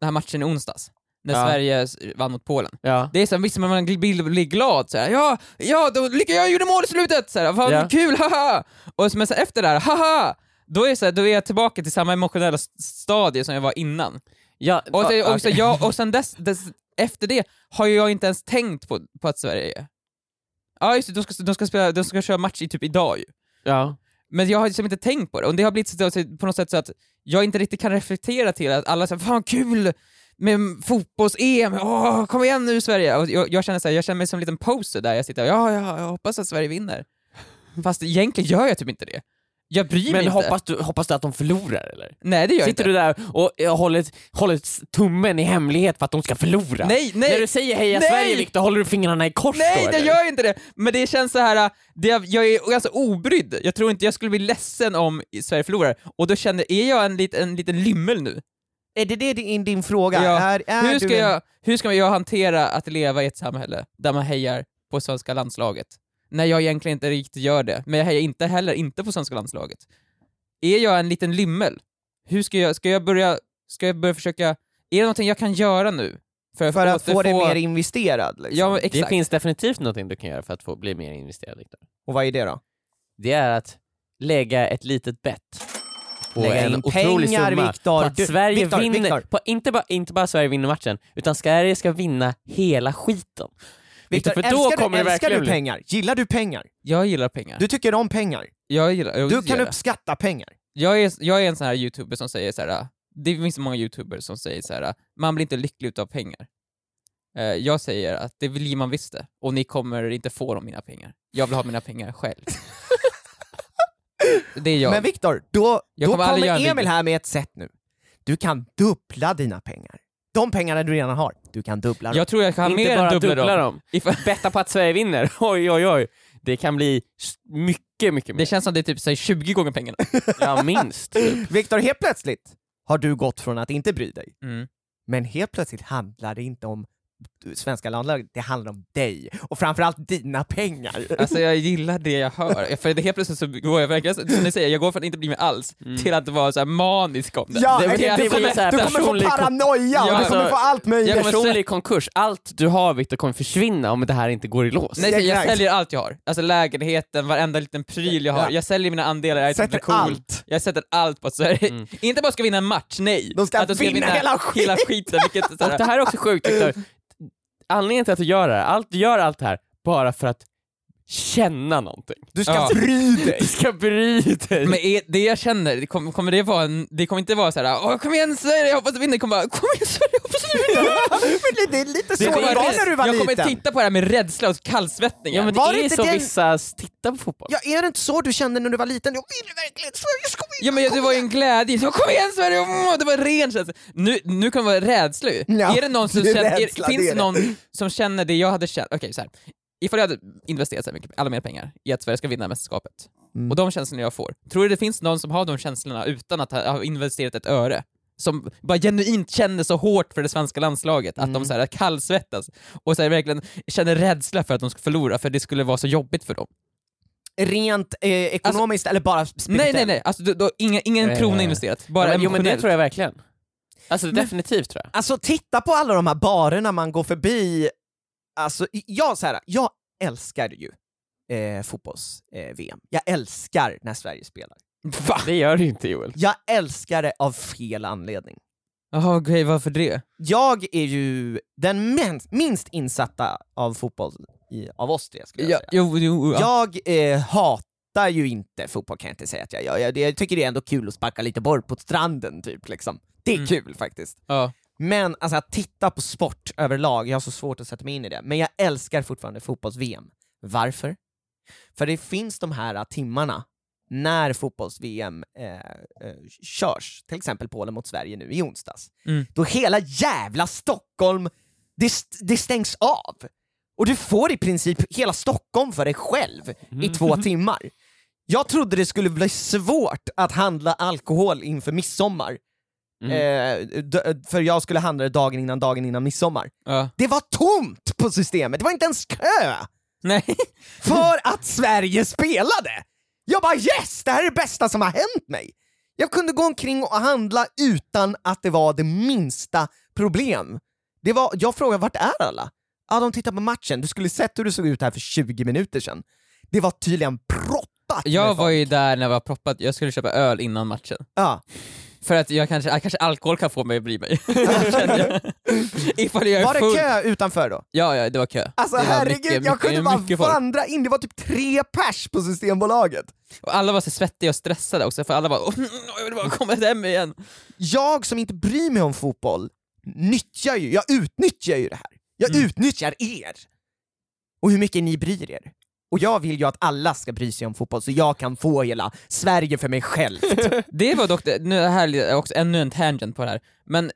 den här matchen i onsdags, när Ja. Sverige s- vann mot Polen. Ja. Det är så här, visst man gl- blir, blir glad såhär, ja, ja, då, lycka, jag gjorde mål i slutet! Så här, fan Ja. vad kul, haha! Och så, men så här, efter det här, haha! Då är, så här, då är jag tillbaka till samma emotionella s- stadie som jag var innan. Ja, Och, så, ah, och, så, okej. jag, och sen dess, dess, efter det har ju jag inte ens tänkt på, på att Sverige... Ja just det, de ska, de, ska spela, de ska köra match i typ idag ju. ja. Men jag har liksom inte tänkt på det, och det har blivit så, så- på något sätt så att jag inte riktigt kan reflektera till att alla säger “Fan vad kul med fotbolls-EM, Åh, kom igen nu Sverige!” och jag, jag, känner så här, jag känner mig som en liten poser där jag sitter och “Ja, ja, jag hoppas att Sverige vinner”. Fast egentligen gör jag typ inte det. Jag bryr mig Men inte. hoppas du, hoppas du att de förlorar eller? Nej, det gör jag Sitter inte. du där och eh, håller, håller tummen i hemlighet för att de ska förlora? Nej, nej! När du säger heja Nej! Sverige Viktor, håller du fingrarna i kors Nej, då? det eller? gör jag inte det! Men det känns så här. äh, Det, jag är ganska obrydd. Jag tror inte jag skulle bli ledsen om Sverige förlorar. Och då känner är jag en, lit, en liten lymmel nu? Är det det din, din fråga? Ja. Är, är hur, du ska en- jag, hur ska jag hantera att leva i ett samhälle där man hejar på svenska landslaget? När jag egentligen inte riktigt gör det, men jag hejar inte heller inte på svenska landslaget. Är jag en liten lymmel? hur ska jag, ska jag börja, ska jag börja försöka, är det någonting jag kan göra nu? För att få det återfå- mer investerat. Liksom. Ja, men Det exakt. finns definitivt någonting du kan göra för att få bli mer investerad Viktor. Och vad är det då? Det är att lägga ett litet bett på Lägga en in otrolig pengar, summa Viktor. på att Du- Sverige Viktor, vinner, Viktor. På, inte, bara, inte bara Sverige vinner matchen, utan Sverige ska vinna hela skiten. Viktor, för då älskar, kommer det du, älskar verkligen du bli- pengar? Gillar du pengar? Jag gillar pengar. Du tycker om pengar? jag, gillar, jag, Du kan gillar. uppskatta pengar? jag, är, jag är en sån här youtuber som säger så här. äh, det finns många youtubers som säger så här. äh, man blir inte lycklig utav pengar. Eh, Jag säger att det blir man visst det, och ni kommer inte få de mina pengar. Jag vill ha mina [LAUGHS] pengar själv. det är jag. Men Viktor, då, Jag då kommer aldrig göra en kommer Emil video. här med ett sätt nu. Du kan dubbla dina pengar. De pengarna du redan har, du kan dubbla dem. jag tror jag kan ha inte mer bara än dubbla dem. dem. Ifall- Betta på att Sverige vinner. Oj, oj, oj. Det kan bli s- mycket, mycket Det mer. känns som det är typ så här 20 gånger pengarna. Ja, minst. typ. Viktor, helt plötsligt har du gått från att inte bry dig, Mm. men helt plötsligt handlar det inte om du- svenska landlaget, det handlar om dig. Och framförallt dina pengar. Alltså jag gillar det jag hör, för det helt plötsligt så går jag verkligen, som ni säger, jag går från att inte bli med alls till att vara så här manisk om det. Ja, Mm. Det- det- exakt. det du, blir kommer, så här du kommer få personlig- paranoia, och Ja, du kommer alltså, få allt möjligt. jag kommer Personlig konkurs. Allt du har Viktor kommer försvinna om det här inte går i lås. Nej, så jag Exakt. säljer allt jag har. Alltså lägenheten, varenda liten pryl jag har. Ja. Jag säljer mina andelar, jag är Sätter typ cool. allt. Jag sätter allt på att Sverige, [LAUGHS] inte bara ska vinna en match, nej. Alltså, De ska att vinna hela skiten. [LAUGHS] hela skiten. Vilket, så Och Alltså, det här, här är också sjukt Viktor. Anledningen till att du gör det här, allt, du gör allt det här bara för att känna någonting. Du ska Ja. bry dig. [LAUGHS] Du ska bry dig. men är, det jag känner, det kommer, kommer det vara en, det kommer inte vara såhär Åh, kom igen Sverige, jag hoppas du vinner, det kommer bara kom igen Sverige, jag hoppas du vinner. Men det är lite så Det det var kommer- när du var jag kommer liten. titta på det här med rädsla och kallsvettningar. ja, men det Var det är inte så den- vissa s- tittar på fotboll. Ja, är det inte så du kände när du var liten? Jag ville verkligen Sverige ska vinna! Ja men det kom var ju igen. en glädje, så kom igen Sverige, åh, det var en ren känsla. Nu, nu kan det vara rädsla ju. Ja, är det någon som det är känner, rädsla, är, finns det det är någon som känner det jag hade känt? Okej så här. ifall jag hade investerat så här mycket, alla mina pengar i att Sverige ska vinna mästerskapet, och de känslorna jag får, tror du det finns någon som har de känslorna utan att ha ha investerat ett öre? Som bara genuint känner så hårt för det svenska landslaget, att de så här kallsvettas och så här verkligen känner rädsla för att de ska förlora, för det skulle vara så jobbigt för dem. Rent eh, ekonomiskt eller bara Nej, spirituellt? nej, nej, alltså, då, då, inga, ingen Ja, ja, krona ja. investerat, Ja, bara men, jo men det emotionellt. tror jag verkligen. Alltså definitivt tror jag. Alltså titta på alla de här barerna man går förbi. Alltså, i- jag, så här, jag älskar ju eh, fotbolls-VM. jag älskar när Sverige spelar. Va? Det gör du inte Joel. Jag älskar det av fel anledning. Jaha, okej, varför det? Jag är ju den men- minst insatta av fotboll i, av oss tre, skulle jag säga. jo, jo, ja. Jag eh, hatar ju inte fotboll kan jag inte säga att jag gör. Jag, jag tycker det är ändå kul att sparka lite boll på stranden typ. Liksom. Det är Mm. kul faktiskt. Ja. Men alltså, att titta på sport överlag, jag har så svårt att sätta mig in i det. Men jag älskar fortfarande fotbolls-VM. Varför? För det finns de här eh, timmarna när fotbolls-VM eh, eh, körs, till exempel Polen mot Sverige nu i onsdags, Mm. då hela jävla Stockholm, det, st- det stängs av. Och du får i princip hela Stockholm för dig själv i två timmar. Jag trodde det skulle bli svårt att handla alkohol inför midsommar, Mm. eh, d- för jag skulle handla det dagen innan dagen innan midsommar. ja. Det var tomt på systemet, det var inte ens kö! Nej, Mm. För att Sverige spelade! Jag bara yes, det här är det bästa som har hänt mig! Jag kunde gå omkring och handla utan att det var det minsta problem. Det var, jag frågade vart är alla? Ja, de tittar på matchen. Du skulle sett hur det såg ut här för 20 minuter sedan. Det var tydligen proppat med [LAUGHS] jag folk. var ju där när jag var proppad, jag skulle köpa öl innan matchen. Ja. För att jag kanske, jag kanske alkohol kan få mig att bli mig. [LAUGHS] Kände [LAUGHS] jag. Ifall jag är Var full. det kö utanför då? Ja, ja, det var kö. Alltså det var herregud, mycket, jag kunde mycket, bara mycket folk. vandra in. Det var typ tre pers på Systembolaget. Och alla var så svettiga och stressade också, för alla bara "Åh, jag vill bara komma hem igen. jag som inte bryr mig om fotboll nyttjar ju, jag utnyttjar ju det här. Jag Mm. utnyttjar er! Och hur mycket ni bryr er. Och jag vill ju att alla ska bry sig om fotboll så jag kan få hela Sverige för mig själv. [LAUGHS] Det var dock, nu är det här är också ännu en tangent på det här, men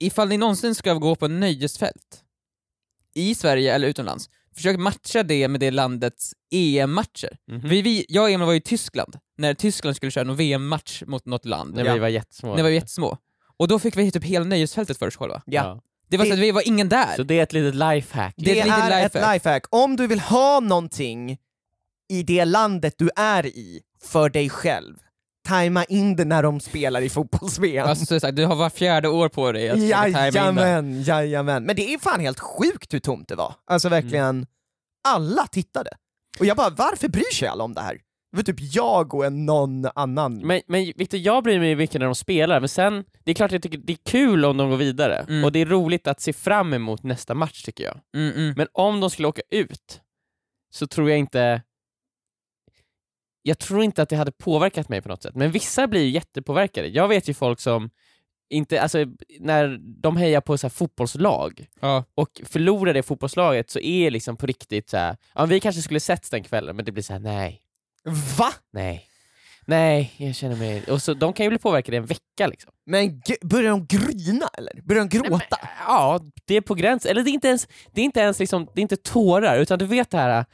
ifall ni någonsin ska gå på nöjesfält, i Sverige eller utomlands, försök matcha det med det landets EM-matcher. Mhm. Vi, vi, jag och Emil var ju i Tyskland, när Tyskland skulle köra någon VM-match mot något land, När vi var jättesmå. när vi var jättesmå. Och då fick vi typ hela nöjesfältet för oss själva. ja. Det var så Det- att vi var ingen där. Så det är ett litet lifehack. Det är ett litet är lifehack. ett lifehack. Om du vill ha någonting i det landet du är i för dig själv, tajma in det när de spelar i fotbolls Alltså, så är det så här, du har var fjärde år på dig att försöka tajma in det. Jajamän, jajamän. Men det är fan helt sjukt hur tomt det var. Alltså Mm. verkligen, alla tittade. Och jag bara, varför bryr sig alla om det här? Det var typ jag och en någon annan. Men, men Victor, jag bryr mig mycket när de spelar, men sen, det är klart jag tycker det är kul om de går vidare, Mm. och det är roligt att se fram emot nästa match tycker jag. Mm, mm. Men om de skulle åka ut, så tror jag inte... Jag tror inte att det hade påverkat mig på något sätt, men vissa blir ju jättepåverkade. Jag vet ju folk som inte, alltså när de hejar på så här fotbollslag Ja. och förlorar det fotbollslaget så är det liksom på riktigt så här, ja vi kanske skulle setts den kvällen men det blir så här: nej, Va? Nej. Nej, jag känner mig... Och så, de kan ju bli påverkade i en vecka liksom. Men g- börjar de grina eller? Börjar de gråta? Ja, det är på gränsen. Eller det är inte ens, det är inte ens liksom, det är inte tårar, utan du vet det här,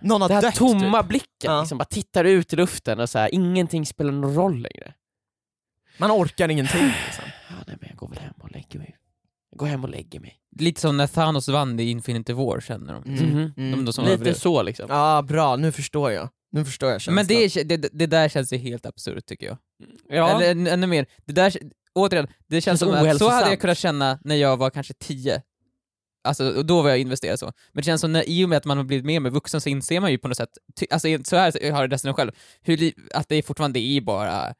Någon har det här dött typ. tomma blicken, Ja. liksom, bara tittar ut i luften och så här, ingenting spelar någon roll längre. typ. Man orkar ingenting. [SIGHS] Liksom. Ja, nej men jag går väl hem och lägger mig. Jag går hem och lägger mig. Lite som när Thanos vann i Infinity War, känner de. Mm. Mhm. de då som Lite överlevde. så liksom. Ja, bra. Nu förstår jag. Nu förstår jag känslan. Men det, är- det, det där känns ju helt absurt tycker jag. Ja. Eller än- ännu mer, det där, återigen, det känns så som att så hade jag ohälsosamt. kunnat känna när jag var kanske 10. Alltså, och då var jag investerad så. Men det känns som, när, i och med att man har blivit mer med vuxen så inser man ju på något sätt, ty, alltså så här har jag resonerat själv, hur, li- att det är fortfarande det är bara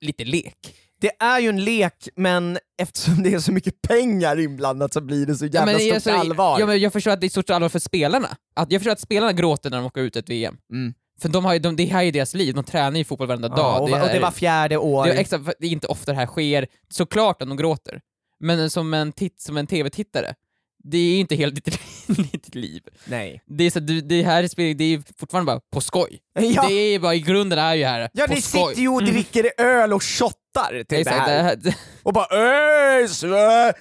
lite lek. Det är ju en lek, men eftersom det är så mycket pengar inblandat så blir det så jävla men stort alltså, allvar. Ja, men jag förstår att det är stort allvar för spelarna. Att, jag förstår att spelarna gråter när de åker ut ett VM. Mm. För de har ju, de, det här är ju deras liv, de tränar ju fotboll varenda Ja, dag. och, och här det är- var fjärde år. Det är, extra, för det är inte ofta det här sker, såklart att de gråter. Men som en, titt, som en tv-tittare, det är ju inte helt ditt, [LAUGHS] ditt liv. Nej. Det, är så, att du- det här är spel- det är fortfarande bara på skoj. Ja, Det är ju bara, i grunden är ju här ja på ni skoj. Mm. sitter ju och dricker öl och shottar till det Exakt, här. det här. [LAUGHS] Det Och bara Öj, Sve-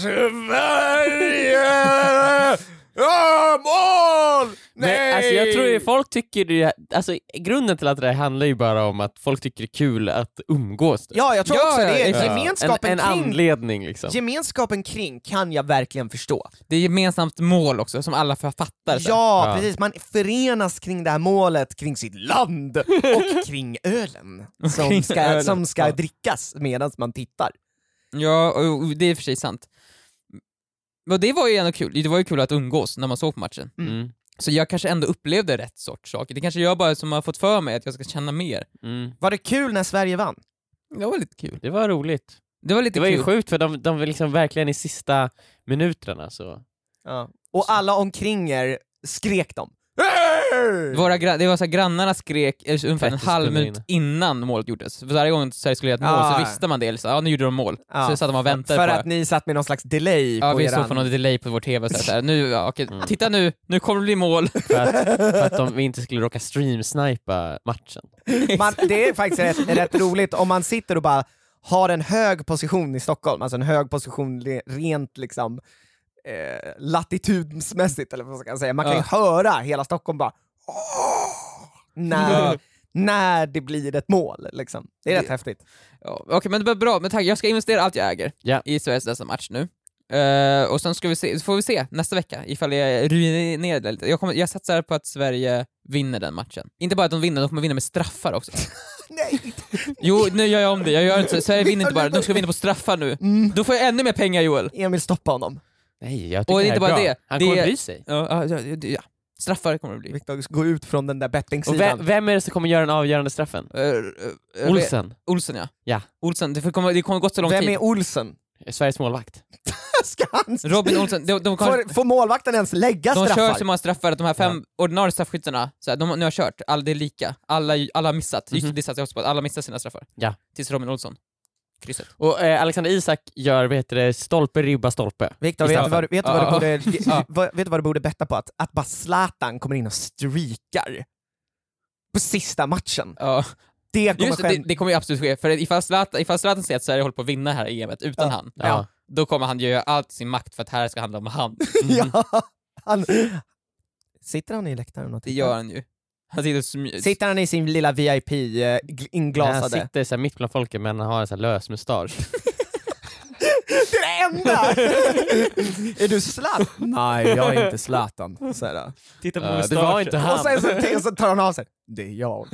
[LAUGHS] Sverige! Ja, mål! Nej! Men, alltså, jag tror ju folk tycker det, alltså, grunden till att det här handlar ju bara om att folk tycker det är kul att umgås. typ. Ja, jag tror Ja, också det. ja, Ja. Gemenskapen, en, en kring, anledning liksom. gemenskapen kring kan jag verkligen förstå. det är gemensamt mål också, som alla fattar. sen. Ja, Ja. precis. Man förenas kring det här målet, kring sitt [LAUGHS] land och kring ölen som kring ska, ölen, Som ska ja. drickas medan man tittar. Ja, och- och det är i och för sig sant. Men det var ju ändå kul, det var ju kul att umgås när man såg på matchen. Mm. Så jag kanske ändå upplevde rätt sorts saker. Det kanske jag bara som har fått för mig att jag ska känna mer. Mm. Var det kul när Sverige vann? Det var lite kul. Det var roligt. Det var lite Det var kul. ju sjukt för de, de var liksom verkligen i sista minuterna så... Och alla omkring er skrek de. Våra gra- det var så här, grannarna skrek eh, ungefär en 30 halv sekunder minut innan målet gjordes. För varje gång Sverige skulle göra ett mål Ah. så visste man det. Så, ja, nu gjorde de mål. Ja. Så satt man och väntade För på att det. ni satt med någon slags delay Ja, på vi eran... såg på någon delay på vår TV. Så här, så här, nu, ja, okej, Titta nu, nu kommer det bli mål. För att, för att de, vi inte skulle råka streamsnipa matchen. man, det är faktiskt rätt, rätt roligt om man sitter och bara har en hög position i Stockholm, alltså en hög position le- rent liksom eh, latitudsmässigt eller vad man ska säga. Man kan ju höra hela Stockholm bara "Åh!" när, Ja. när det blir ett mål. Liksom. Det är rätt häftigt. Ja, Okej, men det var bra. Men tack, jag ska investera allt jag äger Ja. i Sveriges nästa match nu. Eh, och sen ska vi se, så får vi se nästa vecka ifall jag ruinerar det lite. Jag, kommer, jag satsar på att Sverige vinner den matchen. Inte bara att de vinner, de kommer vinna med straffar också. Nej, Jo, nu gör jag om det. Jag gör inte så. Sverige vinner [LAUGHS] inte bara, de ska vinna på straffar nu. Mm. Då får jag ännu mer pengar Joel. Emil stoppa honom. Nej, jag tycker Och det här inte är bara bra. det, Han det- kommer bry sig. Ja, ja, ja, ja, ja. Straffar kommer det bli. Viktor, gå ut från den där Och bettingsidan. vem, vem är det som kommer göra den avgörande straffen? Eh, eh, eh, Olsen, Olsen ja. Ja. Olsen, det får komma- det kommer gått så lång Vem tid. är Olsen? Sveriges målvakt. [LAUGHS] Ska han... Robin Olsen, de, de, kanske- Får, får målvakten ens lägga de straffar? kör så många straffar att de här fem ordinarie straffskyttarna, så här, de, har- nu har kört, alla, det är lika. Alla, alla har missat. Just det, Mhm. det satsar jag också på, att alla missar sina straffar. Ja. Tills Robin Olsson. Krysset. Och eh, Alexander Isak gör, vad heter det, stolpe, ribba, stolpe. Viktor, vet, du vad, vet, du vad du Ja. borde, [LAUGHS] Ja. vad- vet du vad du borde betta på? Att, att bara Zlatan kommer in och streakar på sista matchen. Ja. Det kommer Just det, det, skäm- det kommer ju absolut ske, för ifall Zlatan, ifall Zlatan ser att Sverige håller på att vinna här i EMet utan Ja. han, Ja. då kommer han göra allt i sin makt för att det här ska handla om [LAUGHS] han. [LAUGHS] ja, han, Sitter han i läktaren och Det tittar? gör han ju. Han sitter och smy- Sitter han i sin lilla VIP, eh, gl- Han inglasade? [LAUGHS] sitter så här mitt bland folket men han har en så här lös mustasch. Det är det enda! [LAUGHS] är du slatt? Nej, jag är inte Zlatan. Så här. Titta på Eh, det mustaschen. var inte Och han. sen så, så tar han av sig. Det är jag.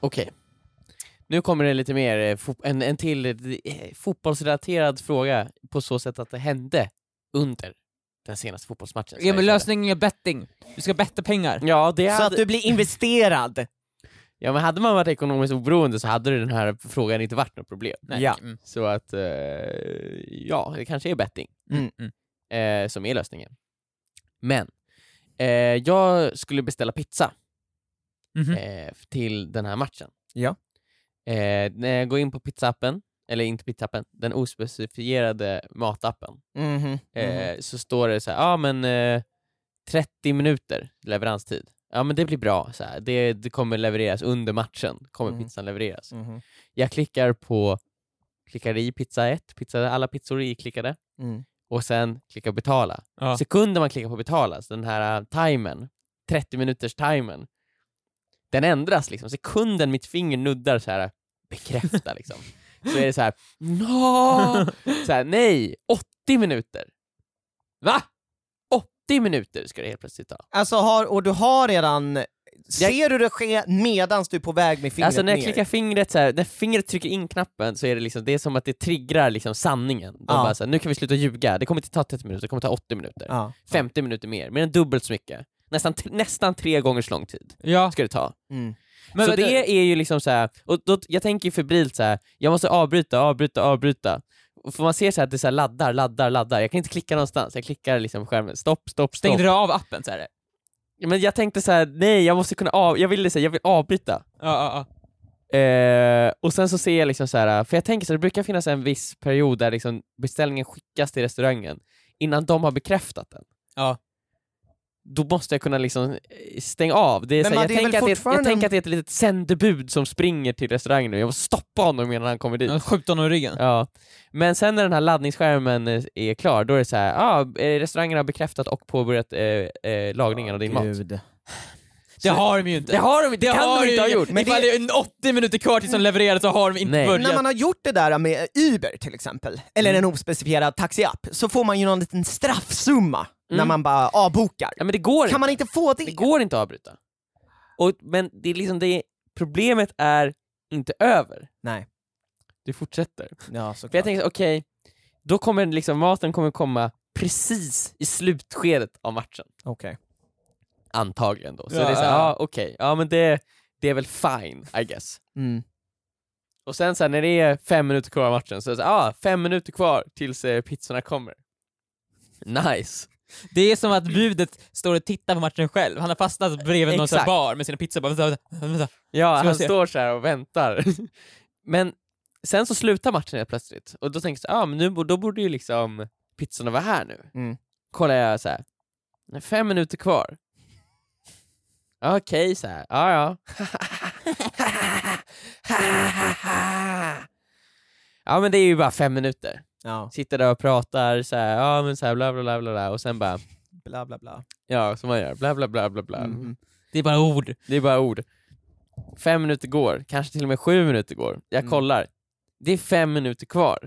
Okej. Nu kommer det lite mer, eh, fot- en, en till eh, fotbollsrelaterad fråga på så sätt att det hände under den senaste fotbollsmatchen. Ja, men lösningen är betting. Du ska betta pengar. Ja, det hade... blir investerad. ja, men hade man varit ekonomiskt oberoende så hade den här frågan inte varit något problem. Nej. Ja. Mm. Så att, eh, ja, det kanske är betting Mm. eh, som är lösningen. Men, eh, jag skulle beställa pizza Mhm. eh, till den här matchen. Mm. Ja. Eh, när jag går in på pizzaappen, eller inte pizzaappen, den ospecifierade matappen, Mhm. eh, Mm. så står det så här, ja ah, men eh, 30 minuter leveranstid. Ja men det blir bra, så här. Det, det kommer levereras under matchen, kommer Mhm. pizzan levereras. Jag klickar på, klickar i pizza 1, pizza, alla pizzor är iklickade, Mm. och sen klickar betala. Ja. Sekunden man klickar på betala, så den här eh, timern, 30 minuters timern, den ändras liksom. Sekunden mitt finger nuddar så här bekräfta liksom. Så är det så här, no! så här nej, 80 minuter. Va? 80 minuter ska det helt plötsligt ta. Alltså har, och du har redan... Ser du det ske medan du är på väg med fingret alltså när jag ner? klickar fingret så här, när fingret trycker in knappen så är det liksom, det är som att det triggar liksom sanningen. De Ja. bara så här, nu kan vi sluta ljuga, det kommer inte ta 30 minuter, det kommer ta 80 minuter. Ja. 50 minuter mer, mer än dubbelt så mycket. Nästan, t- nästan tre gånger så lång tid [LAUGHS] Ja. ska det ta. Mm. Men så vänta. det är ju liksom så här, och då, jag tänker ju febrilt så här. jag måste avbryta, avbryta, avbryta. Och För man ser så här att det så här laddar, laddar, laddar. Jag kan inte klicka någonstans, jag klickar liksom på skärmen. Stopp, stopp, stopp. Stängde du av appen så här? Ja, Men jag tänkte så här: nej jag måste kunna av, jag ville säga, jag vill avbryta. Ja, ja, ja. Eh, och sen så ser jag liksom så här, för jag tänker så här, det brukar finnas en viss period där liksom beställningen skickas till restaurangen innan de har bekräftat den. Ja. Då måste jag kunna liksom eh, stänga av. Det är Men så här, man, jag, det är tänker väl att det, jag fortfarande- tänker att det är ett litet sändebud som springer till restaurangen nu, jag måste stoppa honom innan han kommer dit. ja. Skjut honom i ryggen. Ja. Men sen när den här laddningsskärmen eh, är klar, då är det så här, ah, eh, restaurangen har bekräftat och påbörjat eh, eh, lagningen av din mat. Gud. Det har de ju inte. Det har de, det Det kan har de inte ha ju- gjort! Men Ifall det är en 80 minuter kvar tills de levererar så har de inte Nej. börjat. När man har gjort det där med Uber till exempel, eller Mm. en ospecifierad taxiapp, så får man ju någon liten straffsumma när Mm. man bara avbokar. Ja men det går inte. Kan man inte få Det det? går inte att avbryta. Och, men det är liksom det, problemet är inte över. Nej. Det fortsätter. Ja, För jag tänker så, okej, då kommer liksom, maten kommer komma precis i slutskedet av matchen. Okej. Antagligen då. Så Ja, det är såhär, ja. ja okej, ja men det, det är väl fine, I guess. Mm. Och sen så här, när det är fem minuter kvar av matchen så är det såhär, ah, fem minuter kvar tills eh, pizzorna kommer. Nice. Det är som att budet står och tittar på matchen själv. Han har fastnat bredvid någon sån här Exakt. bar med sina pizzor. Bara, vänta, vänta, vänta. Ja, Ska jag han se? står så här och väntar. [LAUGHS] Men sen så slutar matchen helt plötsligt och då tänker jag så här, ah, men nu, bo- då borde ju liksom pizzorna vara här nu. Mm. Kollar jag så här, det är fem minuter kvar. [LAUGHS] Okej, så här, ja ja. [LAUGHS] ja men det är ju bara fem minuter. Ja. Sitter där och pratar så här, ja men så här bla bla bla bla bla och sen bara, Bla bla bla. ja som man gör, bla bla bla bla bla. Mm. Det är bara ord. Det är bara ord. Fem minuter går, kanske till och med sju minuter går. Jag Mm. kollar. Det är fem minuter kvar.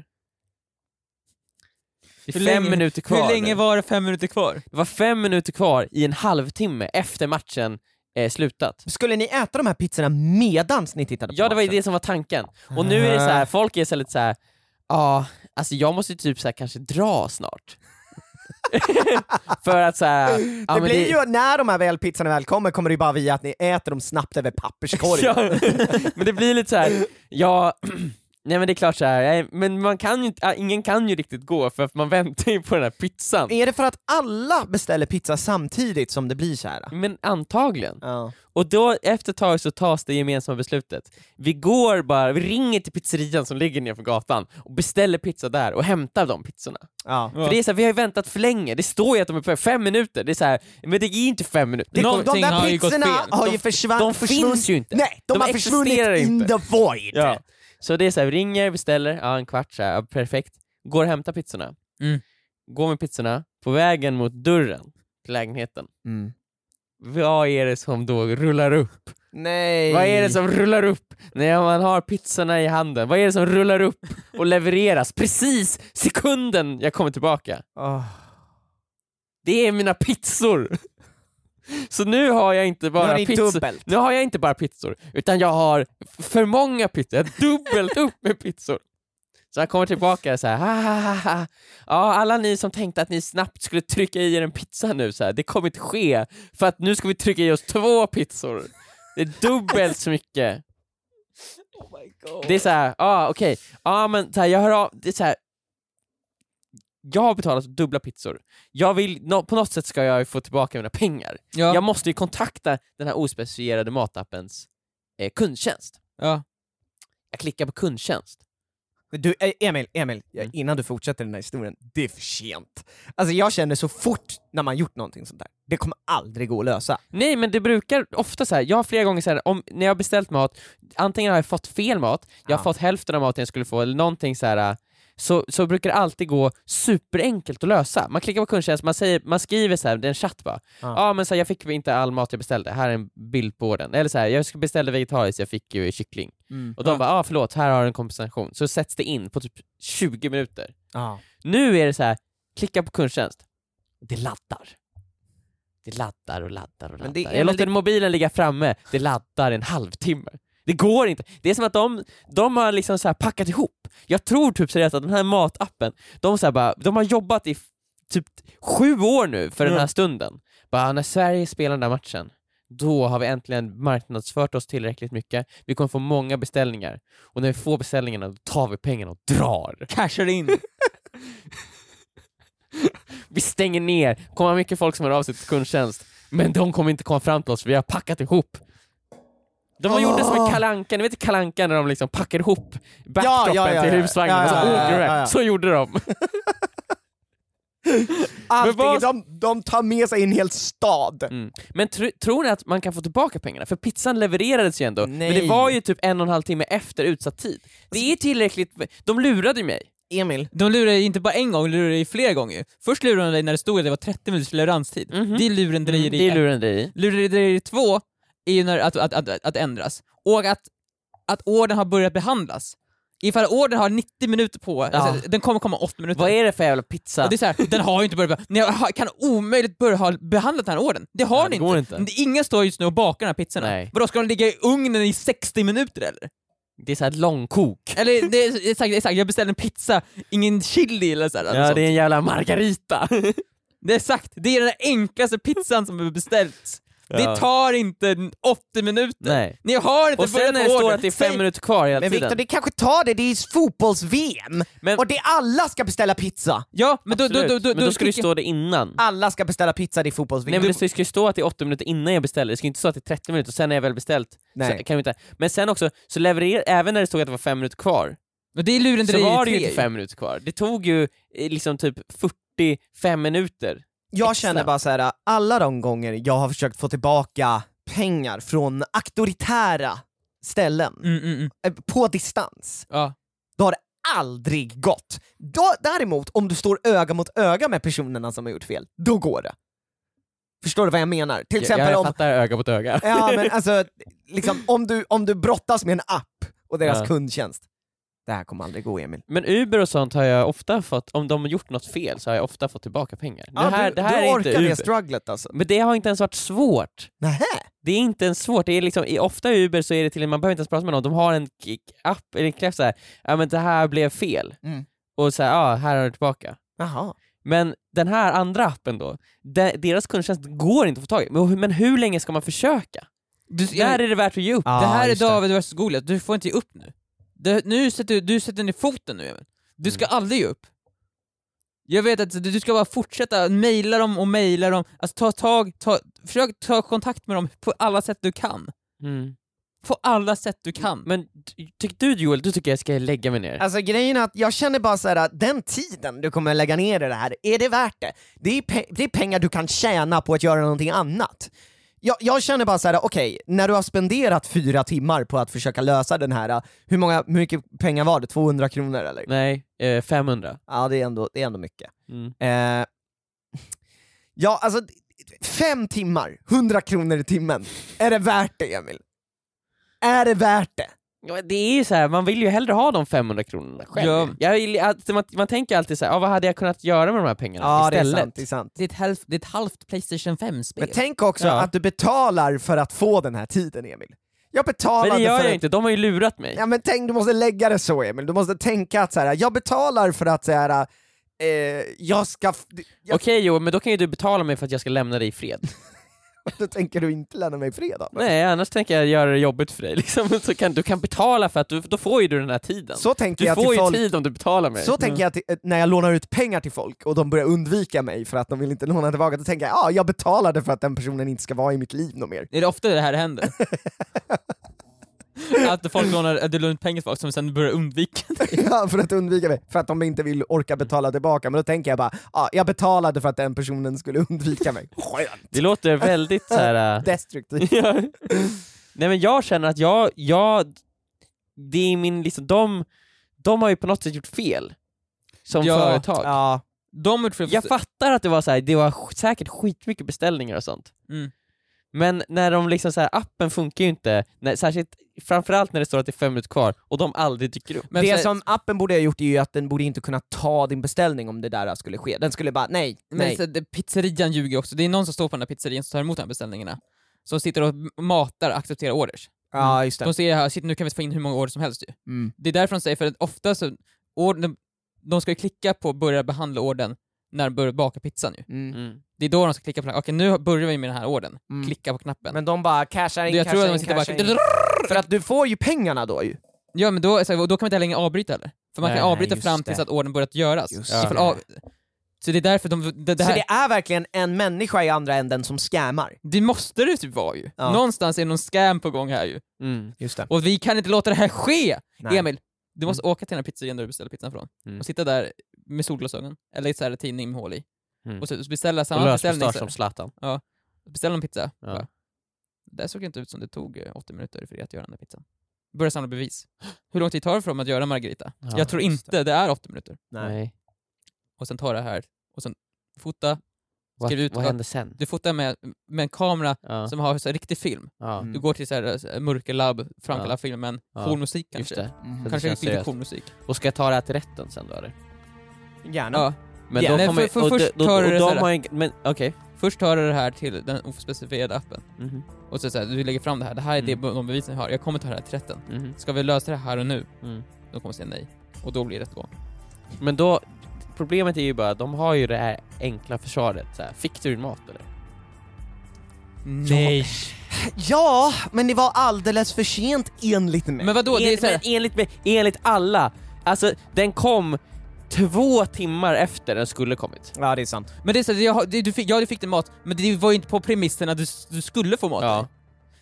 Det är Hur fem länge- minuter kvar Hur länge nu. var det fem minuter kvar? Det var fem minuter kvar i en halvtimme efter matchen eh, slutat. Skulle ni äta de här pizzorna medans ni tittade på Ja, det var ju matchen? det som var tanken. Och nu är det så [LAUGHS] här, folk är så här lite så här. ja, alltså jag måste ju typ så här kanske dra snart. [LAUGHS] För att så här, ja, det men blir ju, när de här väl pizzorna väl kommer, kommer det ju bara via att ni äter dem snabbt över papperskorgen. [LAUGHS] Ja, men det blir lite så här. ja, [CLEARS THROAT] nej men det är klart så här. nej, men man kan ju inte, ah, ingen kan ju riktigt gå för att man [LAUGHS] väntar ju på den här pizzan. Är det för att alla beställer pizza samtidigt som det blir så här? Men antagligen. Ja. Och då efter ett tag så tas det gemensamma beslutet. Vi går bara, vi ringer till pizzerian som ligger nedanför gatan och beställer pizza där och hämtar de pizzorna. Ja. Ja. För det är så här, vi har ju väntat för länge, det står ju att de är på fem minuter, det är så här, men det är ju inte fem minuter. Det, de Någonting där har ju gått pizzorna fel. har ju De- försvunnit. de finns ju inte. Nej, de, De har försvunnit existerar in inte. the void. Ja. Så det är så här, vi ringer, beställer, ja, en kvart, så här, ja, perfekt. Går och hämtar pizzorna. Mm. Går med pizzorna, på vägen mot dörren till lägenheten. Mm. vad är det som då rullar upp? Nej. Vad är det som rullar upp när man har pizzorna i handen? Vad är det som rullar upp och levereras precis sekunden jag kommer tillbaka? Åh. Det är mina pizzor! Så nu har jag inte Nu bara är det pizzor. dubbelt. Nu har jag inte bara pizzor, utan jag har f- för många pizzor. Jag har dubbelt upp med pizzor. Så jag kommer tillbaka så här, ha, ha, ha, ha. Ja, alla ni som tänkte att ni snabbt skulle trycka i er en pizza nu, så här, det kommer inte ske, för att nu ska vi trycka i oss två pizzor. Det är dubbelt så mycket. Det är så här, ja ah, okej, ah, men så här, jag hör av, det är så här. Jag har betalat dubbla pizzor. Jag vill, nå- på något sätt ska jag ju få tillbaka mina pengar. Ja. Jag måste ju kontakta den här ospecifierade matappens eh, kundtjänst. Ja. Jag klickar på kundtjänst. Du, eh, Emil, Emil, ja, Mm. innan du fortsätter den här historien, det är för sent. Alltså jag känner så fort när man gjort någonting sånt där, det kommer aldrig gå att lösa. Nej men det brukar ofta så här. jag har flera gånger så här, om, när jag har beställt mat, antingen har jag fått fel mat, jag har Ja. fått hälften av maten jag skulle få, eller någonting så här. Så, så brukar det alltid gå superenkelt att lösa. Man klickar på kundtjänst, man, säger, man skriver så här, det är en chatt bara. Ja Ja. men så här, jag fick inte all mat jag beställde, här är en bild på den. Eller så här, jag beställde vegetariskt, jag fick ju kyckling. Och de bara, ah, förlåt, här har du en kompensation. Så sätts det in på typ 20 minuter. Ja. Nu är det så här, klicka på kundtjänst. Det laddar. Det laddar och laddar och Men laddar. det är väl jag låter mobilen ligga framme, det laddar en halvtimme. Det går inte. Det är som att de, de har liksom så här packat ihop. Jag tror typ seriöst att den här matappen, de, så här bara, de har jobbat i f- typ sju år nu för den här stunden. Bara, när Sverige spelar den där matchen, då har vi äntligen marknadsfört oss tillräckligt mycket. Vi kommer få många beställningar. Och när vi får beställningarna, då tar vi pengarna och drar. Cashar in. Vi stänger ner, kommer ha mycket folk som hör av sig till kundtjänst, men de kommer inte komma fram till oss för vi har packat ihop. De har gjort det som en kalanka, ni vet kalanka när de liksom packar ihop backdropen Ah. ja, ja, till ja. husvagnen Ja, och så ja, ja, åker de iväg. ja, ja. Så gjorde de. Allting, vad- de, de tar med sig en hel stad. Mm. Men tr tror ni att man kan få tillbaka pengarna? För pizzan levererades ju ändå, men det Nej. var ju typ en och en halv timme efter utsatt tid. Det är tillräckligt, de lurade ju mig. Emil, De lurar dig inte bara en gång, de lurar dig flera gånger. Först lurade de dig när det stod att det var 30 minuters leveranstid. Mhm. Det är Mm, lurendrejeri Det är lurendrejeri. Lurendrejeri 2 är ju när, att, att, att, att ändras. Och att, att orden har börjat behandlas. Ifall orden har 90 minuter på alltså, den kommer komma 8 minuter. Vad är det för jävla pizza? Och det är så här, den har ju inte börjat behandlas. Ni har, kan omöjligt börja ha behandlat den här orden. Det har Ja, ni det går inte. inte. Ingen står just nu och bakar den här pizzorna. Nej. Vadå, ska de ligga i ugnen i 60 minuter eller? Det är så här långkok. Eller det är, exakt, exakt, jag beställde en pizza, ingen chili eller så här, alltså. eller Ja, sånt. det är en jävla margarita. Det är sagt, det är den enklaste pizzan som är beställt. Ja. Det tar inte 80 minuter. [LAUGHS] Nej. Ni har inte Och sen börjat när det står ordern. att det är fem Säg- minuter kvar hela men tiden. Viktor det kanske tar det, det är fotbolls-VM! Men- Och det alla ska beställa pizza! Ja, men då, då, då, då, Absolut, men då ska det tycker- stå det innan. Alla ska beställa pizza, det Nej är fotbolls-VM. men det ska ju stå att det är 80 minuter innan jag beställer, det ska inte stå att det är 30 minuter och sen när jag väl beställt Nej. så kan vi inte... Men sen också, så levererar, även när det stod att det var 5 minuter kvar, Men det är lurendrejeri så var det ju tre inte 5 minuter kvar. Det tog ju eh, liksom typ 45 minuter. Jag Extra. känner bara så här, alla de gånger jag har försökt få tillbaka pengar från auktoritära ställen, Mm, mm, mm. eh, på distans, Ja. då har det aldrig gått. Då, däremot, om du står öga mot öga med personerna som har gjort fel, då går det. Förstår du vad jag menar? Till Jag, exempel jag om, fattar öga mot öga. [LAUGHS] ja, men alltså, liksom, om, du, om du brottas med en app och deras Ja. kundtjänst. Det här kommer aldrig gå Emil. Men Uber och sånt har jag ofta fått, om de har gjort något fel så har jag ofta fått tillbaka pengar. Ja, det här, du, det här du är orkar inte Uber. det strugglet alltså. men det har inte ens varit svårt. Nähä? Det är inte ens svårt, det är liksom, i- ofta i Uber så är det till och med, man behöver inte ens prata med någon, de har en k- app, eller en knapp såhär, ja men det här blev fel, Mm. och såhär, ja här har du tillbaka. Jaha. Men den här andra appen då, de, deras kundtjänst går inte att få tag i, men, hur- men hur länge ska man försöka? Du, Där är det värt att ge upp. Ja, det här är just det. David vs Goliat, du får inte ge upp nu. Det, nu sätter, du sätter ner foten nu Emil. Du ska Mm. aldrig ge upp. Jag vet att du du ska bara fortsätta mejla dem och mejla dem, alltså ta tag, ta, försök ta kontakt med dem på alla sätt du kan. Mm. På alla sätt du kan. Men ty- tycker du Joel, du tycker jag ska lägga mig ner? Alltså grejen är att jag känner bara så här att den tiden du kommer lägga ner i det här, är det värt det? Det är, pe- det är pengar du kan tjäna på att göra någonting annat. Jag, jag känner bara så här, okej, när du har spenderat fyra timmar på att försöka lösa den här, hur, många, hur mycket pengar var det? 200 kronor eller? Nej, eh, 500. Ja, det är ändå, det är ändå mycket. Mm. Eh, [LAUGHS] ja, alltså d- fem timmar, 100 kronor i timmen. Är det värt det Emil? Är det värt det? Ja, men det är ju så här, man vill ju hellre ha de 500 kronorna själv. Ja. Jag vill, att, man, man tänker alltid så här, ah, vad hade jag kunnat göra med de här pengarna istället? är sant. Det är ett halvt, det är ett halvt Playstation 5-spel. Men tänk också Ja. att du betalar för att få den här tiden Emil. Jag betalade Men det gör för jag att inte, de har ju lurat mig. Ja men tänk, du måste lägga det så Emil, du måste tänka att så här, jag betalar för att så här, eh, jag ska... f- Jag, Okej Joel, men då kan ju du betala mig för att jag ska lämna dig i [LAUGHS] fred. Då tänker du inte lämna mig fred av det. Nej, annars tänker jag göra det jobbigt för dig. Liksom. [LAUGHS] Så kan, du kan betala för att du, då får ju du den här tiden. Så tänker du jag till får ju folk, tid om du betalar mig. så tänker jag till, eh, när jag lånar ut pengar till folk och de börjar undvika mig för att de vill inte låna tillbaka, då tänker jag ja, jag betalade för att den personen inte ska vara i mitt liv något [LAUGHS] mer. Är det ofta det [LAUGHS] här händer? att folk lånar, att du lånar ut pengar till folk som sen börjar undvika dig. Ja, för att undvika mig, för att de inte vill orka betala tillbaka. Men då tänker jag bara, ja, jag betalade för att den personen skulle [LAUGHS] undvika mig. Skönt! Det låter väldigt så [LAUGHS] här. äh, [LAUGHS] Destruktivt. Ja. Nej men jag känner att jag, jag det är min liksom, de, de har ju på något sätt gjort fel. Som [LAUGHS] Ja. företag. Ja. De har gjort fel- Jag fattar att det var så här, det var sk- säkert skitmycket beställningar och sånt. Mm. Men när de liksom så här, appen funkar ju inte, när, särskilt framförallt när det står att det är fem minuter kvar och de aldrig dyker upp. Men det så- som appen borde ha gjort är ju att den borde inte kunna ta din beställning om det där skulle ske. Den skulle bara, nej, Men nej. så, det, pizzerian ljuger också. Det är någon som står på den där pizzerian som tar emot de här beställningarna. Som sitter och matar och accepterar orders. Ja, just det. De säger här, shit nu kan vi få in hur många orders som helst ju. Mm. Det är därför de säger, för att ofta så, ord, de ska ju klicka på börja behandla orden när de börjar baka pizzan ju. Mm. Mm. Det är då de ska klicka på okej nu börjar vi med den här orden. Mm. Klicka på knappen. Men de bara cashar in, jag tror cashar att de in, sitter cashar in. bara... För att du får ju pengarna då ju. Ja men då, så- och då kan man inte längre avbryta heller. För man Nej, kan nej, avbryta just fram tills det. att orden börjat göras. Just Ifall det. av, så det är därför de... Det, det, Så här, det är verkligen en människa i andra änden som scammar. det måste det typ vara ju. Ja. Någonstans är någon scam på gång här ju. Mm. Just det. Och vi kan inte låta det här ske! Nej. Emil, du måste åka till den här pizzerian där du beställer pizzan från. Mm. Och sitta där med solglasögon, eller så här tidning med hål i. Mm. Och så beställa Och samma beställning. lösmustasch så- som Zlatan. Beställa en pizza. Ja. Bara, Det där såg inte ut som det tog eh, 80 minuter för dig att göra den där pizzan. Börja samla bevis. Hur lång tid tar det för dem att göra Margarita? Ja, jag tror just inte det. är 80 minuter. Nej. Och sen tar det här, och sen fota. Vad, Skriv ut vad att- hände sen? Du fotar med, med en kamera Ja. som har så här riktig film. Ja. Mm. Du går till så här, så här eh, mörkerlabb, framkallar Ja. filmen, Ja. cool musik Just kanske. det. Mm. Kanske känns lite seriöst. Mm. cool musik. Och ska jag ta det här till rätten sen då eller? Gärna. Ja. Men Ja, nej, kommer- för- för och de- först då- tar du och det så de här. har en- Men okej. Först tar du det här till den ospecifierade appen. Mhm. Och så, så här, du lägger fram det här, det här är Mm. det, de bevisen jag har, jag kommer ta det här till rätten. Mhm. Ska vi lösa det här och nu? Mm. De kommer säga nej. Och då blir det rättegång. Men då, problemet är ju bara att de har ju det här enkla försvaret. Så här, fick du din mat eller? Nej! Ja, men det var alldeles för sent enligt mig. Men vadå, det är Enligt, så här, men enligt, mig- enligt alla, alltså den kom två timmar efter den skulle kommit. Ja, det är sant. Men det är så, här, jag, har- det, du fick, ja, du fick din mat, men det var ju inte på premissen att du, s- du skulle få mat. Ja.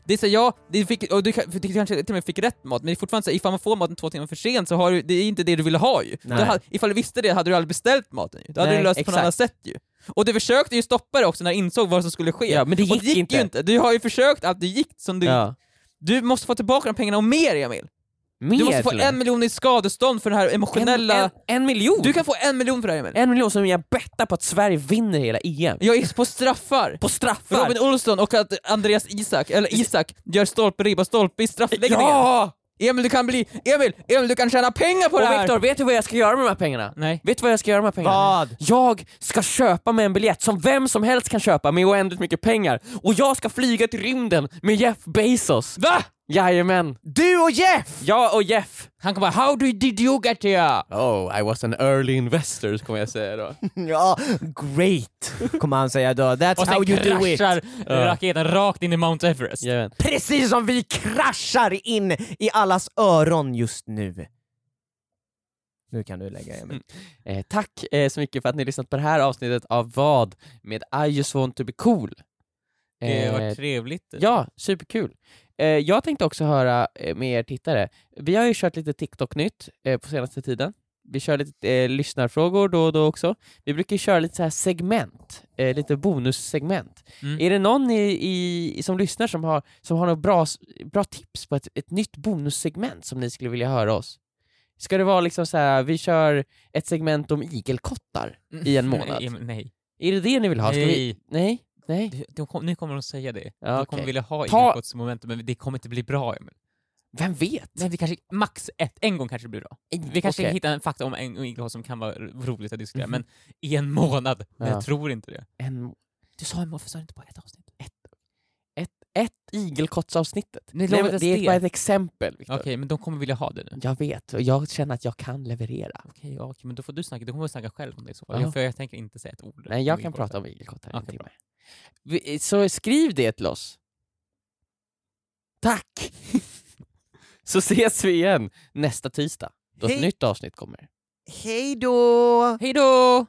Det är så, här, ja, du, fick, och du, kan- för du kanske till och med fick rätt mat, men det är fortfarande så, här, ifall man får maten två timmar för sent så har du, det är inte det du ville ha ju. Nej. Du hade, ifall du visste det hade du aldrig beställt maten ju. Då hade Nej, du löst det på något exakt. annat sätt ju. Och du försökte ju stoppa det också när du insåg vad som skulle ske. Ja, men det och gick det gick inte. ju inte. Du har ju försökt allt, det gick som du... Ja. Du måste få tillbaka de pengarna och mer Emil! Mer Du måste få till och med. en miljon i skadestånd för det här emotionella... en, en, en miljon! Du kan få en miljon för det här Emil! En miljon som jag bettar på att Sverige vinner hela E EM. Jag är på straffar! På straffar! Robin Olsson och att Andreas Isak, eller Isak, gör stolpe, ribba, stolpe i straffläggningen. ja! Emil, du kan bli... Emil, Emil, du kan tjäna pengar på det Och här! Viktor, vet du vad jag ska göra med de här pengarna? Nej. Vet du vad jag ska göra med de här pengarna? Vad? Jag ska köpa mig en biljett som vem som helst kan köpa med oändligt mycket pengar och jag ska flyga till rymden med Jeff Bezos. Va? Jajamän. Du och Jeff! Jag och Jeff. Han kommer bara “How do, did you get here?” Oh, I was an early investor kommer jag säga [LAUGHS] då. [LAUGHS] Ja, great! Kommer han säga då. That's Och sen how you do it. kraschar raketen rakt in i Mount Everest. Jajamän. Precis som vi kraschar in i allas öron just nu. Nu kan du lägga Emil. Eh, tack eh, så mycket för att ni har lyssnat på det här avsnittet av Vad med I just want to be cool. Det Eh, var trevligt. Typ. Ja, superkul. Eh, jag tänkte också höra eh, med er tittare. Vi har ju kört lite TikTok-nytt eh, på senaste tiden. Vi kör lite eh, lyssnarfrågor då och då också. Vi brukar ju köra lite så här segment, eh, lite bonussegment. Mm. Är det någon i, i, som lyssnar som har, som har några bra, s- bra tips på ett, ett nytt bonussegment som ni skulle vilja höra oss? Ska det vara liksom så här, vi kör ett segment om igelkottar i en månad? Nej, Emil, nej. Är det det ni vill ha? Ska vi... Nej. Nej? Nej. De, de kom, nu kommer de säga det. Ja, De kommer okej. vilja ha Ta- inbrottsmomentum, men det kommer inte bli bra, Emil. Vem vet? Nej, vi kanske, max ett, en gång kanske det blir bra. Vi kanske Okej. hittar en fakta om en inbrott som kan vara roligt att diskutera, men i en månad. Men Ja. jag tror inte det. En, Du sa en månad, sa du inte bara ett avsnitt? ett igelkottsavsnittet. Ni Nej, lovade men oss det är det. bara ett exempel, Viktor. Okej, men de kommer vilja ha det nu. Jag vet, och jag känner att jag kan leverera. Okej, ja, okej, men då får du snacka. Du kommer snacka själv om det i så fall. Ja. Jag- För jag tänker inte säga ett ord. Nej, jag kan inbrott. prata om igelkottar i en Okej, timme. Vi- Så skriv det till oss. Tack! [LAUGHS] Så ses vi igen nästa tisdag, då ett Hej. nytt avsnitt kommer. Hej då! Hej då!